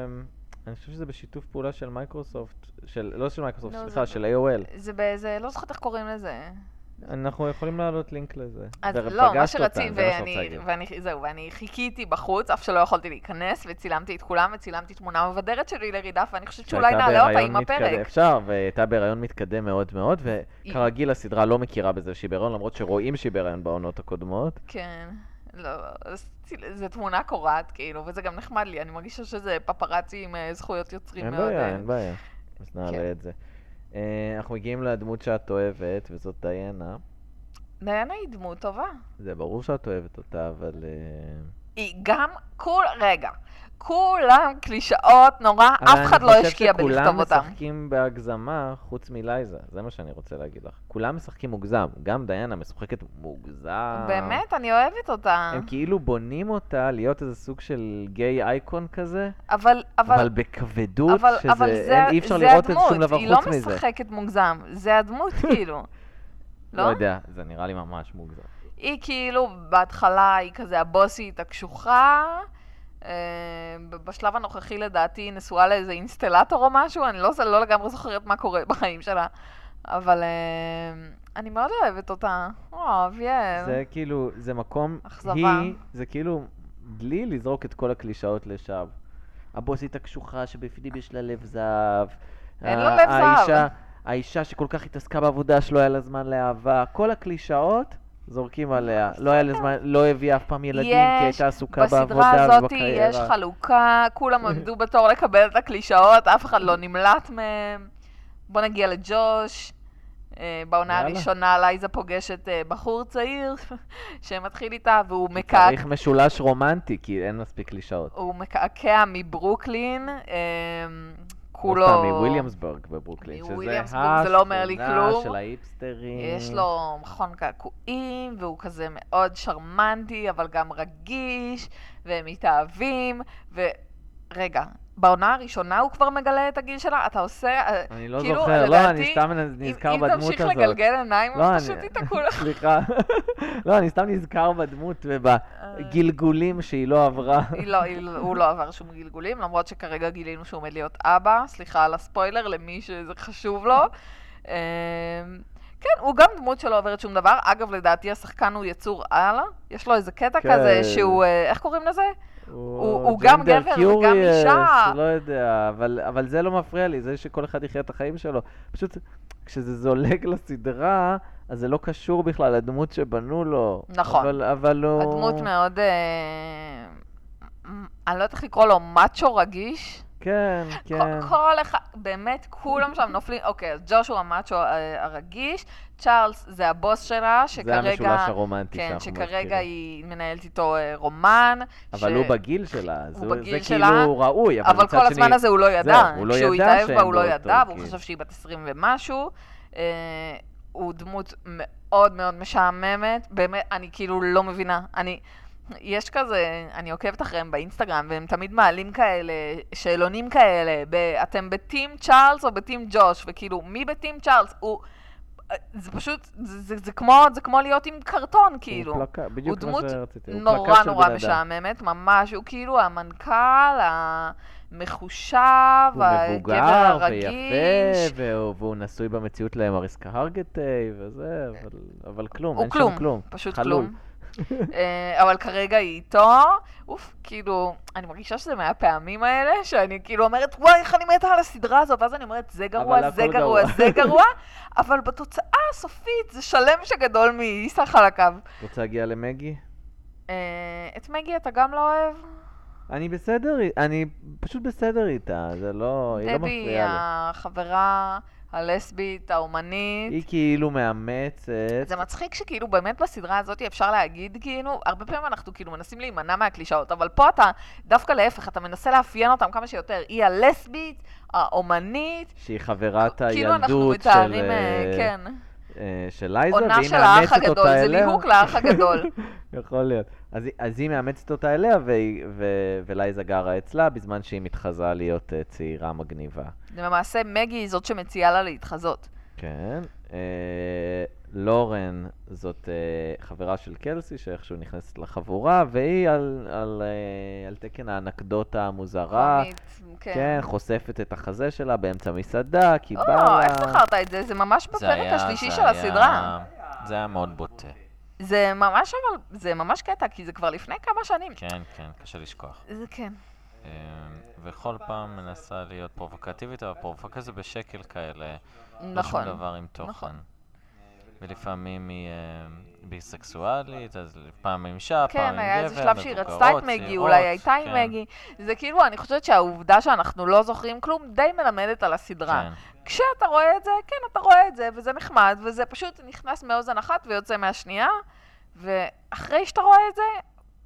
Speaker 2: אמ, אני חושב שזה בשיתוף פעולה של מייקרוסופט, של, לא של מייקרוסופט,
Speaker 3: לא, זה
Speaker 2: סליחה,
Speaker 3: ב-
Speaker 2: של AOL.
Speaker 3: זה באיזה, לא זוכרת איך קוראים לזה.
Speaker 2: אנחנו יכולים להעלות לינק לזה.
Speaker 3: אז
Speaker 2: ופגשת
Speaker 3: לא,
Speaker 2: אותם,
Speaker 3: מה שרציתי,
Speaker 2: זה מה שאני רוצה
Speaker 3: ואני,
Speaker 2: להגיד.
Speaker 3: ואני, זהו, ואני חיכיתי בחוץ, אף שלא יכולתי להיכנס, וצילמתי את כולם, וצילמתי תמונה מבדרת שלי לרידף, ואני חושבת שאולי
Speaker 2: שהייתה
Speaker 3: נעלה אותה
Speaker 2: בהיריון
Speaker 3: עם
Speaker 2: מתקדם-
Speaker 3: הפרק.
Speaker 2: אפשר, והייתה בהיריון מתקדם מאוד מאוד, וכרגיל הסדרה לא מכירה בזה שהיא בהיריון, למרות שרואים שהיא בהיריון בעונות הקודמות.
Speaker 3: כן, לא, אז ציל- זו תמונה קורעת, כאילו, וזה גם נחמד לי, אני מרגישה שזה פפראצי עם אה, זכויות יוצרים
Speaker 2: אין
Speaker 3: מאוד.
Speaker 2: בעיה,
Speaker 3: אה,
Speaker 2: אין בעיה. אז
Speaker 3: כן.
Speaker 2: נעלה את זה. אה, אנחנו מגיעים לדמות שאת אוהבת, וזאת דיינה.
Speaker 3: דיינה היא דמות טובה.
Speaker 2: זה ברור שאת אוהבת אותה, אבל... אה,
Speaker 3: היא גם, כול, רגע, כולם קלישאות נורא, אף
Speaker 2: אבל
Speaker 3: אחד
Speaker 2: אני
Speaker 3: לא
Speaker 2: חושב
Speaker 3: השקיע בלכתוב אותם.
Speaker 2: שכולם משחקים בהגזמה חוץ מלייזה, זה מה שאני רוצה להגיד לך. כולם משחקים מוגזם, גם דיינה משחקת מוגזם.
Speaker 3: באמת, אני אוהבת אותה.
Speaker 2: הם כאילו בונים אותה להיות איזה סוג של גיי אייקון כזה,
Speaker 3: אבל,
Speaker 2: אבל,
Speaker 3: אבל
Speaker 2: בכבדות, שזה,
Speaker 3: זה-
Speaker 2: אין, אי אפשר
Speaker 3: זה
Speaker 2: לראות את
Speaker 3: הדמות,
Speaker 2: שום דבר חוץ
Speaker 3: היא
Speaker 2: מזה.
Speaker 3: לא משחקת מוגזם, זה הדמות כאילו.
Speaker 2: לא
Speaker 3: לא?
Speaker 2: יודע, זה נראה לי ממש מוגזם.
Speaker 3: היא כאילו, בהתחלה היא כזה הבוסית הקשוחה, אה, ב- בשלב הנוכחי לדעתי היא נשואה לאיזה אינסטלטור או משהו, אני לא, לא לגמרי זוכרת מה קורה בחיים שלה, אבל אה, אני מאוד אוהבת אותה. או, אביאל.
Speaker 2: זה כאילו, זה מקום,
Speaker 3: כן. אכזבה.
Speaker 2: היא, זה כאילו, בלי לזרוק את כל הקלישאות לשווא. הבוסית הקשוחה שבפנים יש לה לב זהב.
Speaker 3: אין
Speaker 2: ה-
Speaker 3: לה לב זהב.
Speaker 2: האישה- האישה שכל כך התעסקה בעבודה שלא היה לה זמן לאהבה. כל הקלישאות זורקים עליה. לא היה לזמן, לא הביאה אף פעם ילדים, כי
Speaker 3: יש,
Speaker 2: הייתה עסוקה בעבודה
Speaker 3: בסדרה הזאת
Speaker 2: ובקריירה.
Speaker 3: יש חלוקה, כולם עמדו בתור לקבל את הקלישאות, אף אחד לא נמלט מהם. בוא נגיע לג'וש. אה, בעונה
Speaker 2: יאללה.
Speaker 3: הראשונה לייזה פוגשת אה, בחור צעיר שמתחיל איתה, והוא מקעקע
Speaker 2: צריך משולש רומנטי, כי אין מספיק קלישאות.
Speaker 3: הוא מקעקע מברוקלין, אמ, כולו...
Speaker 2: עוד פעם, מוויליאמסבורג בברוקלין, שזה
Speaker 3: מוויליאמסבורג, זה לא אומר לי כלום.
Speaker 2: של ההיפסטרים.
Speaker 3: יש לו מכון קעקועים, והוא כזה מאוד שרמנטי, אבל גם רגיש, והם מתאהבים, ו... רגע, בעונה הראשונה הוא כבר מגלה את הגיל שלה? אתה עושה... אה,
Speaker 2: אני לא
Speaker 3: כאילו,
Speaker 2: זוכר, לא,
Speaker 3: לדעתי,
Speaker 2: אני סתם נזכר
Speaker 3: אם,
Speaker 2: בדמות
Speaker 3: אם
Speaker 2: הזאת.
Speaker 3: תמשיך לגלגל עיניים,
Speaker 2: לא,
Speaker 3: אז פשוט
Speaker 2: אני-
Speaker 3: תיתקעו לך.
Speaker 2: סליחה. לא, אני סתם נזכר בדמות ובגלגולים שהיא לא עברה.
Speaker 3: היא לא, היא, לא- הוא לא עבר שום גלגולים, למרות שכרגע גילינו שהוא עומד להיות אבא, סליחה על הספוילר למי שזה חשוב לו. אמ, כן, הוא גם דמות שלא עוברת שום דבר. אגב, לדעתי השחקן הוא יצור על, יש לו איזה קטע
Speaker 2: כן.
Speaker 3: כזה שהוא, אה, איך קוראים לזה? הוא- הוא גם
Speaker 2: ג'נדר
Speaker 3: גבר וגם אישה.
Speaker 2: קיוריאס, לא יודע, אבל, אבל זה לא מפריע לי, זה שכל אחד יחיה את החיים שלו. פשוט כשזה זולג לסדרה, אז זה לא קשור בכלל לדמות שבנו לו.
Speaker 3: נכון.
Speaker 2: אבל, אבל הוא...
Speaker 3: הדמות מאוד, אה, מ- אני לא יודעת איך לקרוא לו, מאצ'ו רגיש.
Speaker 2: כן, כן.
Speaker 3: כל, כל אחד, באמת, כולם שם נופלים. אוקיי, אז ג'וש הוא המאצ'ו אה, הרגיש, צ'ארלס זה הבוס שלה,
Speaker 2: זה
Speaker 3: שכרגע...
Speaker 2: המשולש הרומנטי
Speaker 3: כן,
Speaker 2: שאנחנו
Speaker 3: שכרגע
Speaker 2: מזכירים.
Speaker 3: היא מנהלת איתו אה, רומן.
Speaker 2: אבל
Speaker 3: ש-
Speaker 2: הוא בגיל שלה, אז
Speaker 3: הוא
Speaker 2: הוא-
Speaker 3: בגיל
Speaker 2: זה
Speaker 3: שלה,
Speaker 2: כאילו ראוי, אבל
Speaker 3: אבל
Speaker 2: מצד
Speaker 3: כל
Speaker 2: שני...
Speaker 3: הזמן הזה הוא לא ידע.
Speaker 2: זהו, הוא לא כן.
Speaker 3: כשהוא
Speaker 2: ידע
Speaker 3: התאהב
Speaker 2: שהם
Speaker 3: בה הוא לא
Speaker 2: באותו
Speaker 3: ידע, והוא
Speaker 2: גיל.
Speaker 3: חשב שהיא בת 20 ומשהו. אה, הוא דמות מאוד מאוד משעממת. באמת, אני כאילו לא מבינה. אני... יש כזה, אני עוקבת אחריהם באינסטגרם, והם תמיד מעלים כאלה, שאלונים כאלה, ב, אתם בטים צ'ארלס או בטים ג'וש, וכאילו, מי בטים צ'ארלס? הוא... אה, זה פשוט, זה, זה, זה, כמו, זה כמו להיות עם קרטון, כאילו.
Speaker 2: הוא פלקה, בדיוק מה
Speaker 3: דמות
Speaker 2: שרציתי, הוא
Speaker 3: נורא
Speaker 2: פלקט של
Speaker 3: נורא
Speaker 2: בן אדם.
Speaker 3: משעממת, ממש, הוא כאילו המנכ"ל המחושב,
Speaker 2: הוא
Speaker 3: הגבר
Speaker 2: מבוגר
Speaker 3: הרגיש.
Speaker 2: ויפה, והוא- והוא נשוי במציאות לאמריס קהרגטי וזה, אבל- אבל כלום,
Speaker 3: הוא
Speaker 2: אין
Speaker 3: כלום,
Speaker 2: שם כלום.
Speaker 3: פשוט
Speaker 2: חלול.
Speaker 3: כלום. אה, אבל כרגע היא איתו, אוף, כאילו, אני מרגישה שזה מהפעמים האלה, שאני כאילו אומרת, וואי, איך אני מתה על הסדרה הזו, ואז אני אומרת, זה
Speaker 2: אבל
Speaker 3: גרוע,
Speaker 2: הכל
Speaker 3: זה גרוע,
Speaker 2: גרוע."
Speaker 3: זה גרוע, אבל בתוצאה הסופית זה שלם שגדול מעיסח על הקו.
Speaker 2: רוצה להגיע למגי?
Speaker 3: אה, את מגי אתה גם לא אוהב?
Speaker 2: אני בסדר, אי- אני פשוט בסדר איתה, זה לא, היא לא
Speaker 3: דבי,
Speaker 2: מפריעה
Speaker 3: החברה הלסבית,
Speaker 2: לי.
Speaker 3: האומנית.
Speaker 2: היא כאילו מאמצת,
Speaker 3: זה מצחיק שכאילו באמת בסדרה הזאת אפשר להגיד כאילו, הרבה פעמים אנחנו כאילו מנסים להימנע מהקלישאות, אבל פה אתה דווקא להפך, אתה מנסה לאפיין אותם כמה שיותר. היא הלסבית, האומנית,
Speaker 2: שהיא חברת
Speaker 3: כאילו אנחנו
Speaker 2: הילדות של,
Speaker 3: מתארים, אה,
Speaker 2: אה,
Speaker 3: כן,
Speaker 2: אה, של לייזר, והיא
Speaker 3: עונה
Speaker 2: מאמצת
Speaker 3: של האח
Speaker 2: אותה
Speaker 3: הגדול, זה
Speaker 2: אליה.
Speaker 3: ליהוק לאח הגדול.
Speaker 2: יכול להיות. אז, היא- אז היא מאמצת אותה אליה, והיא- ו- ולייזה גרה אצלה, בזמן שהיא מתחזה להיות אה, צעירה מגניבה.
Speaker 3: למעשה מגי היא זאת שמציעה לה להתחזות.
Speaker 2: כן. אה, לורן זאת אה, חברה של קלסי, שאיכשהו נכנסת לחבורה, והיא על, על, אה, על תקן האנקדוטה המוזרה.
Speaker 3: קומית, כן.
Speaker 2: כן, חושפת את החזה שלה באמצע מסעדה, כי בא
Speaker 3: או,
Speaker 2: לה...
Speaker 3: איך זכרת את זה? זה ממש
Speaker 4: זה
Speaker 3: בפרק
Speaker 4: היה-
Speaker 3: השלישי
Speaker 4: זה
Speaker 3: של
Speaker 4: היה-
Speaker 3: הסדרה.
Speaker 4: זה היה מאוד בוטה.
Speaker 3: זה ממש אבל, זה ממש קטע, כי זה כבר לפני כמה שנים.
Speaker 4: כן, כן, קשה לשכוח.
Speaker 3: זה כן.
Speaker 4: אמ, וכל פעם מנסה להיות פרובוקטיבית, אבל פרובוקציה זה בשקל כאלה. לא שום
Speaker 3: נכון.
Speaker 4: דבר עם תוכן.
Speaker 3: נכון.
Speaker 4: ולפעמים היא אה, ביסקסואלית, אז פעם עם אישה, פעם עם גבר,
Speaker 3: כן, היה איזה שלב שהיא רצתה את
Speaker 4: מבוגרות,
Speaker 3: מגי,
Speaker 4: צעירות,
Speaker 3: אולי הייתה עם
Speaker 4: כן,
Speaker 3: מגי. זה כאילו, אני חושבת שהעובדה שאנחנו לא זוכרים כלום די מלמדת על הסדרה.
Speaker 4: כן.
Speaker 3: כשאתה רואה את זה, כן, אתה רואה את זה, וזה נחמד, וזה פשוט נכנס מאוזן אחת ויוצא מהשנייה, ואחרי שאתה רואה את זה,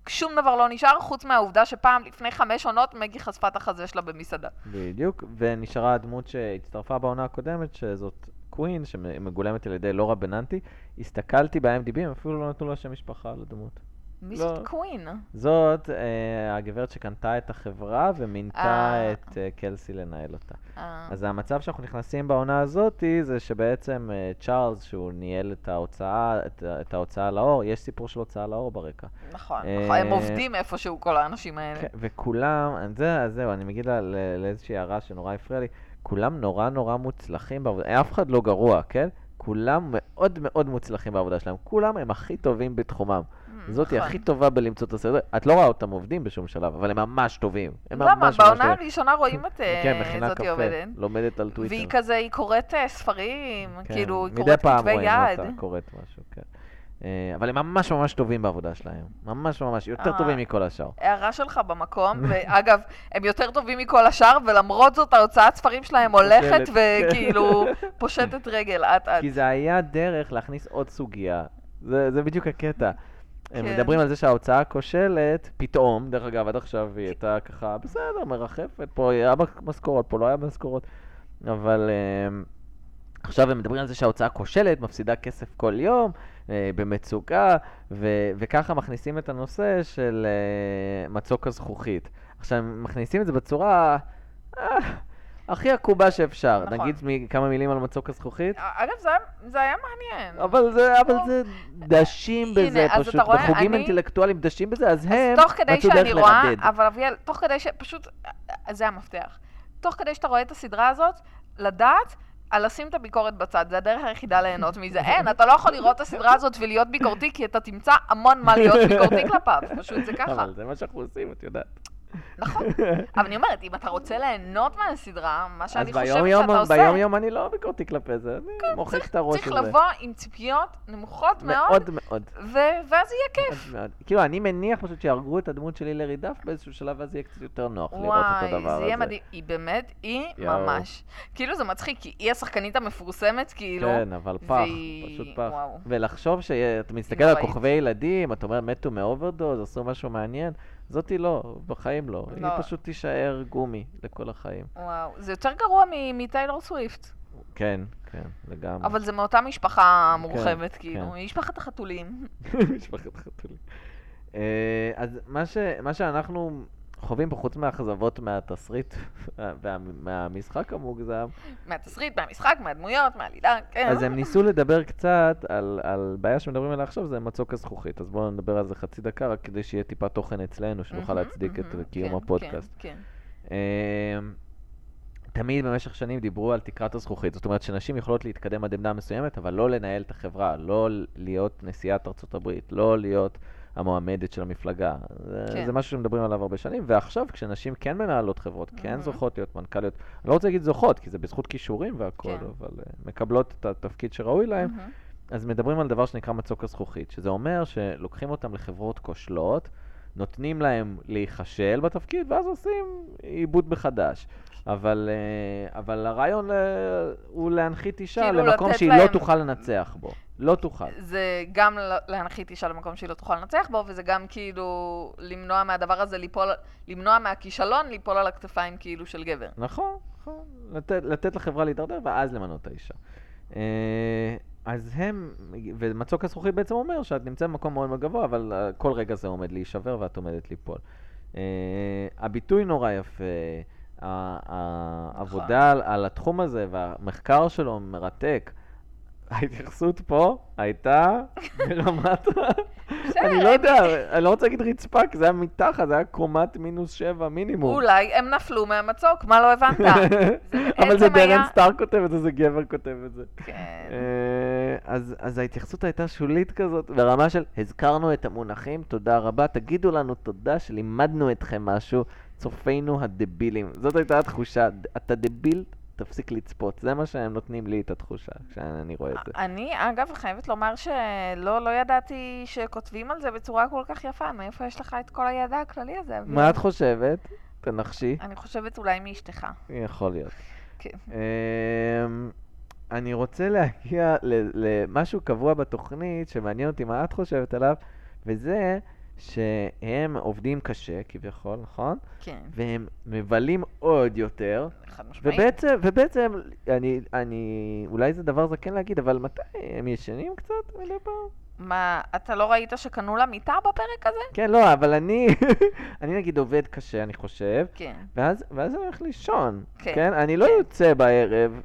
Speaker 3: שום דבר לא נשאר, חוץ מהעובדה שפעם לפני חמש עונות מגי חשפה את החזה שלה במסעדה.
Speaker 2: בדיוק, ונשארה הדמות שהצטרפה בעונה הקודמת, שזאת קווין, שמגולמת על ידי לורה בננטי. הסתכלתי ב-IMDb, הם אפילו לא נתנו לה שם משפחה לדמות.
Speaker 3: מי
Speaker 2: לא.
Speaker 3: זאת קווין?
Speaker 2: זאת אה, הגברת שקנתה את החברה ומינתה
Speaker 3: אה.
Speaker 2: את אה, קלסי לנהל אותה.
Speaker 3: אה,
Speaker 2: אז המצב שאנחנו נכנסים בעונה הזאתי, זה שבעצם אה, צ'ארלס, שהוא ניהל את ההוצאה, את, ה- את ההוצאה לאור, יש סיפור של הוצאה לאור ברקע.
Speaker 3: נכון,
Speaker 2: אה,
Speaker 3: נכון, הם עובדים איפשהו, כל האנשים האלה.
Speaker 2: כן, וכולם, אז זה, אז זהו, אני מגיד לה- ל- לאיזושהי הערה שנורא הפריעה לי, כולם נורא נורא מוצלחים בעבודה, אף אחד לא גרוע, כן? כולם מאוד מאוד מוצלחים בעבודה שלהם, כולם הם הכי טובים בתחומם.
Speaker 3: Mm,
Speaker 2: זאת היא
Speaker 3: נכון.
Speaker 2: הכי טובה בלמצוא את הסדר. את לא רואה אותם עובדים בשום שלב, אבל הם ממש טובים. הם ממש
Speaker 3: למה?
Speaker 2: ממש
Speaker 3: לא, בעונה
Speaker 2: טובים.
Speaker 3: הראשונה רואים את אה,
Speaker 2: כן, מכינה
Speaker 3: זאתי
Speaker 2: קפה,
Speaker 3: עובדת.
Speaker 2: לומדת על טוויטר.
Speaker 3: והיא כזה, היא קוראת אה, ספרים,
Speaker 2: כן,
Speaker 3: כאילו, היא
Speaker 2: מדי
Speaker 3: קוראת
Speaker 2: פעם
Speaker 3: כתבי
Speaker 2: רואים
Speaker 3: יד.
Speaker 2: אותה, קוראת משהו, כן. אה, אבל הם ממש ממש טובים בעבודה שלהם. ממש ממש, יותר
Speaker 3: אה.
Speaker 2: טובים מכל השאר.
Speaker 3: הערה שלך במקום, ואגב, הם יותר טובים מכל השאר, ולמרות זאת ההוצאת ספרים שלהם הולכת
Speaker 2: פוסלת.
Speaker 3: וכאילו פושטת רגל אט-אט.
Speaker 2: כי זה היה דרך להכניס עוד סוגיה. זה, זה בדיוק הקטע. הם
Speaker 3: כן.
Speaker 2: מדברים על זה שההוצאה כושלת, פתאום, דרך אגב, עד עכשיו היא הייתה ככה, בסדר, מרחפת, פה היה מק- משכורות, פה לא היה משכורות, אבל אמ, עכשיו הם מדברים על זה שההוצאה כושלת, מפסידה כסף כל יום, אה, במצוקה, ו- וככה מכניסים את הנושא של אה, מצוק הזכוכית. עכשיו, הם מכניסים את זה בצורה אה, הכי עקובה שאפשר.
Speaker 3: נכון.
Speaker 2: נגיד מ- כמה מילים על מצוק הזכוכית?
Speaker 3: אגב, זה היה- זה היה מעניין.
Speaker 2: אבל זה, אבל זה דשים
Speaker 3: אה, הנה,
Speaker 2: בזה,
Speaker 3: אז אתה
Speaker 2: פשוט
Speaker 3: רואה,
Speaker 2: בחוגים
Speaker 3: אני-
Speaker 2: אינטלקטואליים דשים בזה, אז
Speaker 3: אז
Speaker 2: הם
Speaker 3: תוך כדי
Speaker 2: אה, מצאו דרך
Speaker 3: שאני רואה,
Speaker 2: לרדד.
Speaker 3: אבל אביאל, תוך כדי ש... פשוט, אה, זה המפתח. תוך כדי שאתה רואה את הסדרה הזאת, לדעת על לשים את הביקורת בצד, זה הדרך היחידה ליהנות מזה. אין, אתה לא יכול לראות את הסדרה הזאת ולהיות ביקורתי, כי אתה תמצא המון מה להיות ביקורתי כלפיו, פשוט זה ככה.
Speaker 2: אבל זה מה שאנחנו עושים, את יודעת.
Speaker 3: נכון. אבל אני אומרת, אם אתה רוצה ליהנות מהסדרה, מה
Speaker 2: אז
Speaker 3: שאני חושבת
Speaker 2: ביום
Speaker 3: שאתה
Speaker 2: יום,
Speaker 3: עושה, כן,
Speaker 2: ביום יום אני לא ביקורתי כלפי זה, אני מוחק את הראש
Speaker 3: צריך
Speaker 2: הזה.
Speaker 3: לבוא עם ציפיות נמוכות
Speaker 2: מאוד
Speaker 3: מאוד,
Speaker 2: מאוד.
Speaker 3: ו- ואז יהיה כיף.
Speaker 2: מאוד מאוד. כאילו, אני מניח פשוט שיהרגו את הדמות של הילרי דף באיזשהו שלב, ואז יהיה קצת יותר נוח לראות
Speaker 3: וואי,
Speaker 2: אותו דבר הזה.
Speaker 3: זה יהיה מדהים. היא באמת, היא
Speaker 2: יואו.
Speaker 3: ממש. כאילו זה מצחיק, כי היא השחקנית המפורסמת, כאילו.
Speaker 2: כן, אבל פח,
Speaker 3: והיא-
Speaker 2: פשוט פח.
Speaker 3: וואו.
Speaker 2: ולחשוב שאתה מסתכל
Speaker 3: היא
Speaker 2: על
Speaker 3: נוראית.
Speaker 2: כוכבי ילדים, אתה אומר, מתו מאוברדוז, עשו משהו מעניין, זאתי לא, בחיים לא. היא
Speaker 3: לא.
Speaker 2: פשוט תישאר גומי לכל החיים.
Speaker 3: וואו, זה יותר גרוע מ- מטיילור סוויפט.
Speaker 2: כן, כן, לגמרי.
Speaker 3: אבל זה מאותה משפחה מורחבת,
Speaker 2: כן.
Speaker 3: כאילו. היא משפחת החתולים.
Speaker 2: משפחת חתולים. אה, אז מה ש- מה שאנחנו חווים פה, חוץ מהאכזבות מהתסריט ומהמשחק המוגזם,
Speaker 3: מהתסריט, מהמשחק, מהדמויות, מהלידה, כן.
Speaker 2: אז הם ניסו לדבר קצת על, על בעיה שמדברים עליה עכשיו, זה מצוק הזכוכית. אז בואו נדבר על זה חצי דקה, רק כדי שיהיה טיפה תוכן אצלנו, שנוכל
Speaker 3: מהמם,
Speaker 2: להצדיק את
Speaker 3: מהמם,
Speaker 2: קיום
Speaker 3: כן,
Speaker 2: הפודקאסט.
Speaker 3: כן,
Speaker 2: אמ, תמיד במשך שנים דיברו על תקרת הזכוכית, זאת אומרת שנשים יכולות להתקדם עד עמדה מסוימת, אבל לא לנהל את החברה, לא ל- להיות נשיאת ארצות הברית, לא להיות המועמדת של המפלגה. זה,
Speaker 3: כן.
Speaker 2: זה משהו שמדברים עליו הרבה שנים, ועכשיו כשנשים כן מנהלות חברות, כן
Speaker 3: מהמם.
Speaker 2: זוכות להיות מנכ"ליות, אני לא רוצה להגיד זוכות, כי זה בזכות כישורים והכול,
Speaker 3: כן.
Speaker 2: אבל אה, מקבלות את התפקיד שראוי
Speaker 3: כן.
Speaker 2: להן,
Speaker 3: מהמם.
Speaker 2: אז מדברים על דבר שנקרא מצוק הזכוכית, שזה אומר שלוקחים אותם לחברות כושלות, נותנים להם להיכשל בתפקיד, ואז עושים עיבוד מחדש. אבל, אה, אבל הרעיון אה, הוא להנחית אישה
Speaker 3: כאילו
Speaker 2: למקום
Speaker 3: לתת
Speaker 2: שהיא לא
Speaker 3: להם-
Speaker 2: תוכל לנצח בו. לא תוכל.
Speaker 3: זה גם ל- להנחית אישה למקום שהיא לא תוכל לנצח בו, וזה גם כאילו למנוע מהדבר הזה ליפול, למנוע מהכישלון ליפול על הכתפיים כאילו של גבר.
Speaker 2: נכון, נכון. לתת, לתת לחברה להידרדר ואז למנות את האישה. אה, אז הם, ומצוק הזכוכית בעצם אומר שאת נמצאת במקום מאוד מאוד גבוה, אבל אה, כל רגע זה עומד להישבר ואת עומדת ליפול. אה, הביטוי נורא יפה, ה- ה- העבודה על, על התחום הזה והמחקר שלו מרתק. ההתייחסות פה הייתה ברמת, ה- אני לא יודע, אני לא רוצה להגיד רצפה, כי זה היה מתחת, זה היה קומת מינוס שבע מינימום.
Speaker 3: אולי הם נפלו מהמצוק, מה לא הבנת?
Speaker 2: אבל זה
Speaker 3: בעצם היה-
Speaker 2: דרן סטאר כותב את זה, זה גבר כותב את זה.
Speaker 3: כן.
Speaker 2: אה, אז אז ההתייחסות הייתה שולית כזאת, ברמה של הזכרנו את המונחים, תודה רבה, תגידו לנו תודה שלימדנו אתכם משהו, צופינו הדבילים. זאת הייתה התחושה, ד- אתה דביל, תפסיק לצפות. זה מה שהם נותנים לי את התחושה, כשאני רואה את זה.
Speaker 3: אני, אגב, חייבת לומר שלא לא ידעתי שכותבים על זה בצורה כל כך יפה. מאיפה יש לך את כל הידע הכללי הזה? אביב?
Speaker 2: מה את חושבת? תנחשי.
Speaker 3: אני חושבת אולי מאשתך.
Speaker 2: יכול להיות.
Speaker 3: כן.
Speaker 2: אמ, אני רוצה להגיע ל- למשהו קבוע בתוכנית שמעניין אותי מה את חושבת עליו, וזה שהם עובדים קשה כביכול, נכון?
Speaker 3: כן,
Speaker 2: והם מבלים עוד יותר,
Speaker 3: חד משמעית.
Speaker 2: ובעצם, ובעצם, אני, אני, אולי זה דבר זקן להגיד, אבל מתי? הם ישנים קצת מדי פעם?
Speaker 3: מה, אתה לא ראית שקנו לה מיטה בפרק הזה?
Speaker 2: כן, לא, אבל אני, אני נגיד עובד קשה, אני חושב,
Speaker 3: כן.
Speaker 2: ואז, ואז אני הולך לישון,
Speaker 3: כן,
Speaker 2: כן? אני לא
Speaker 3: כן.
Speaker 2: יוצא בערב,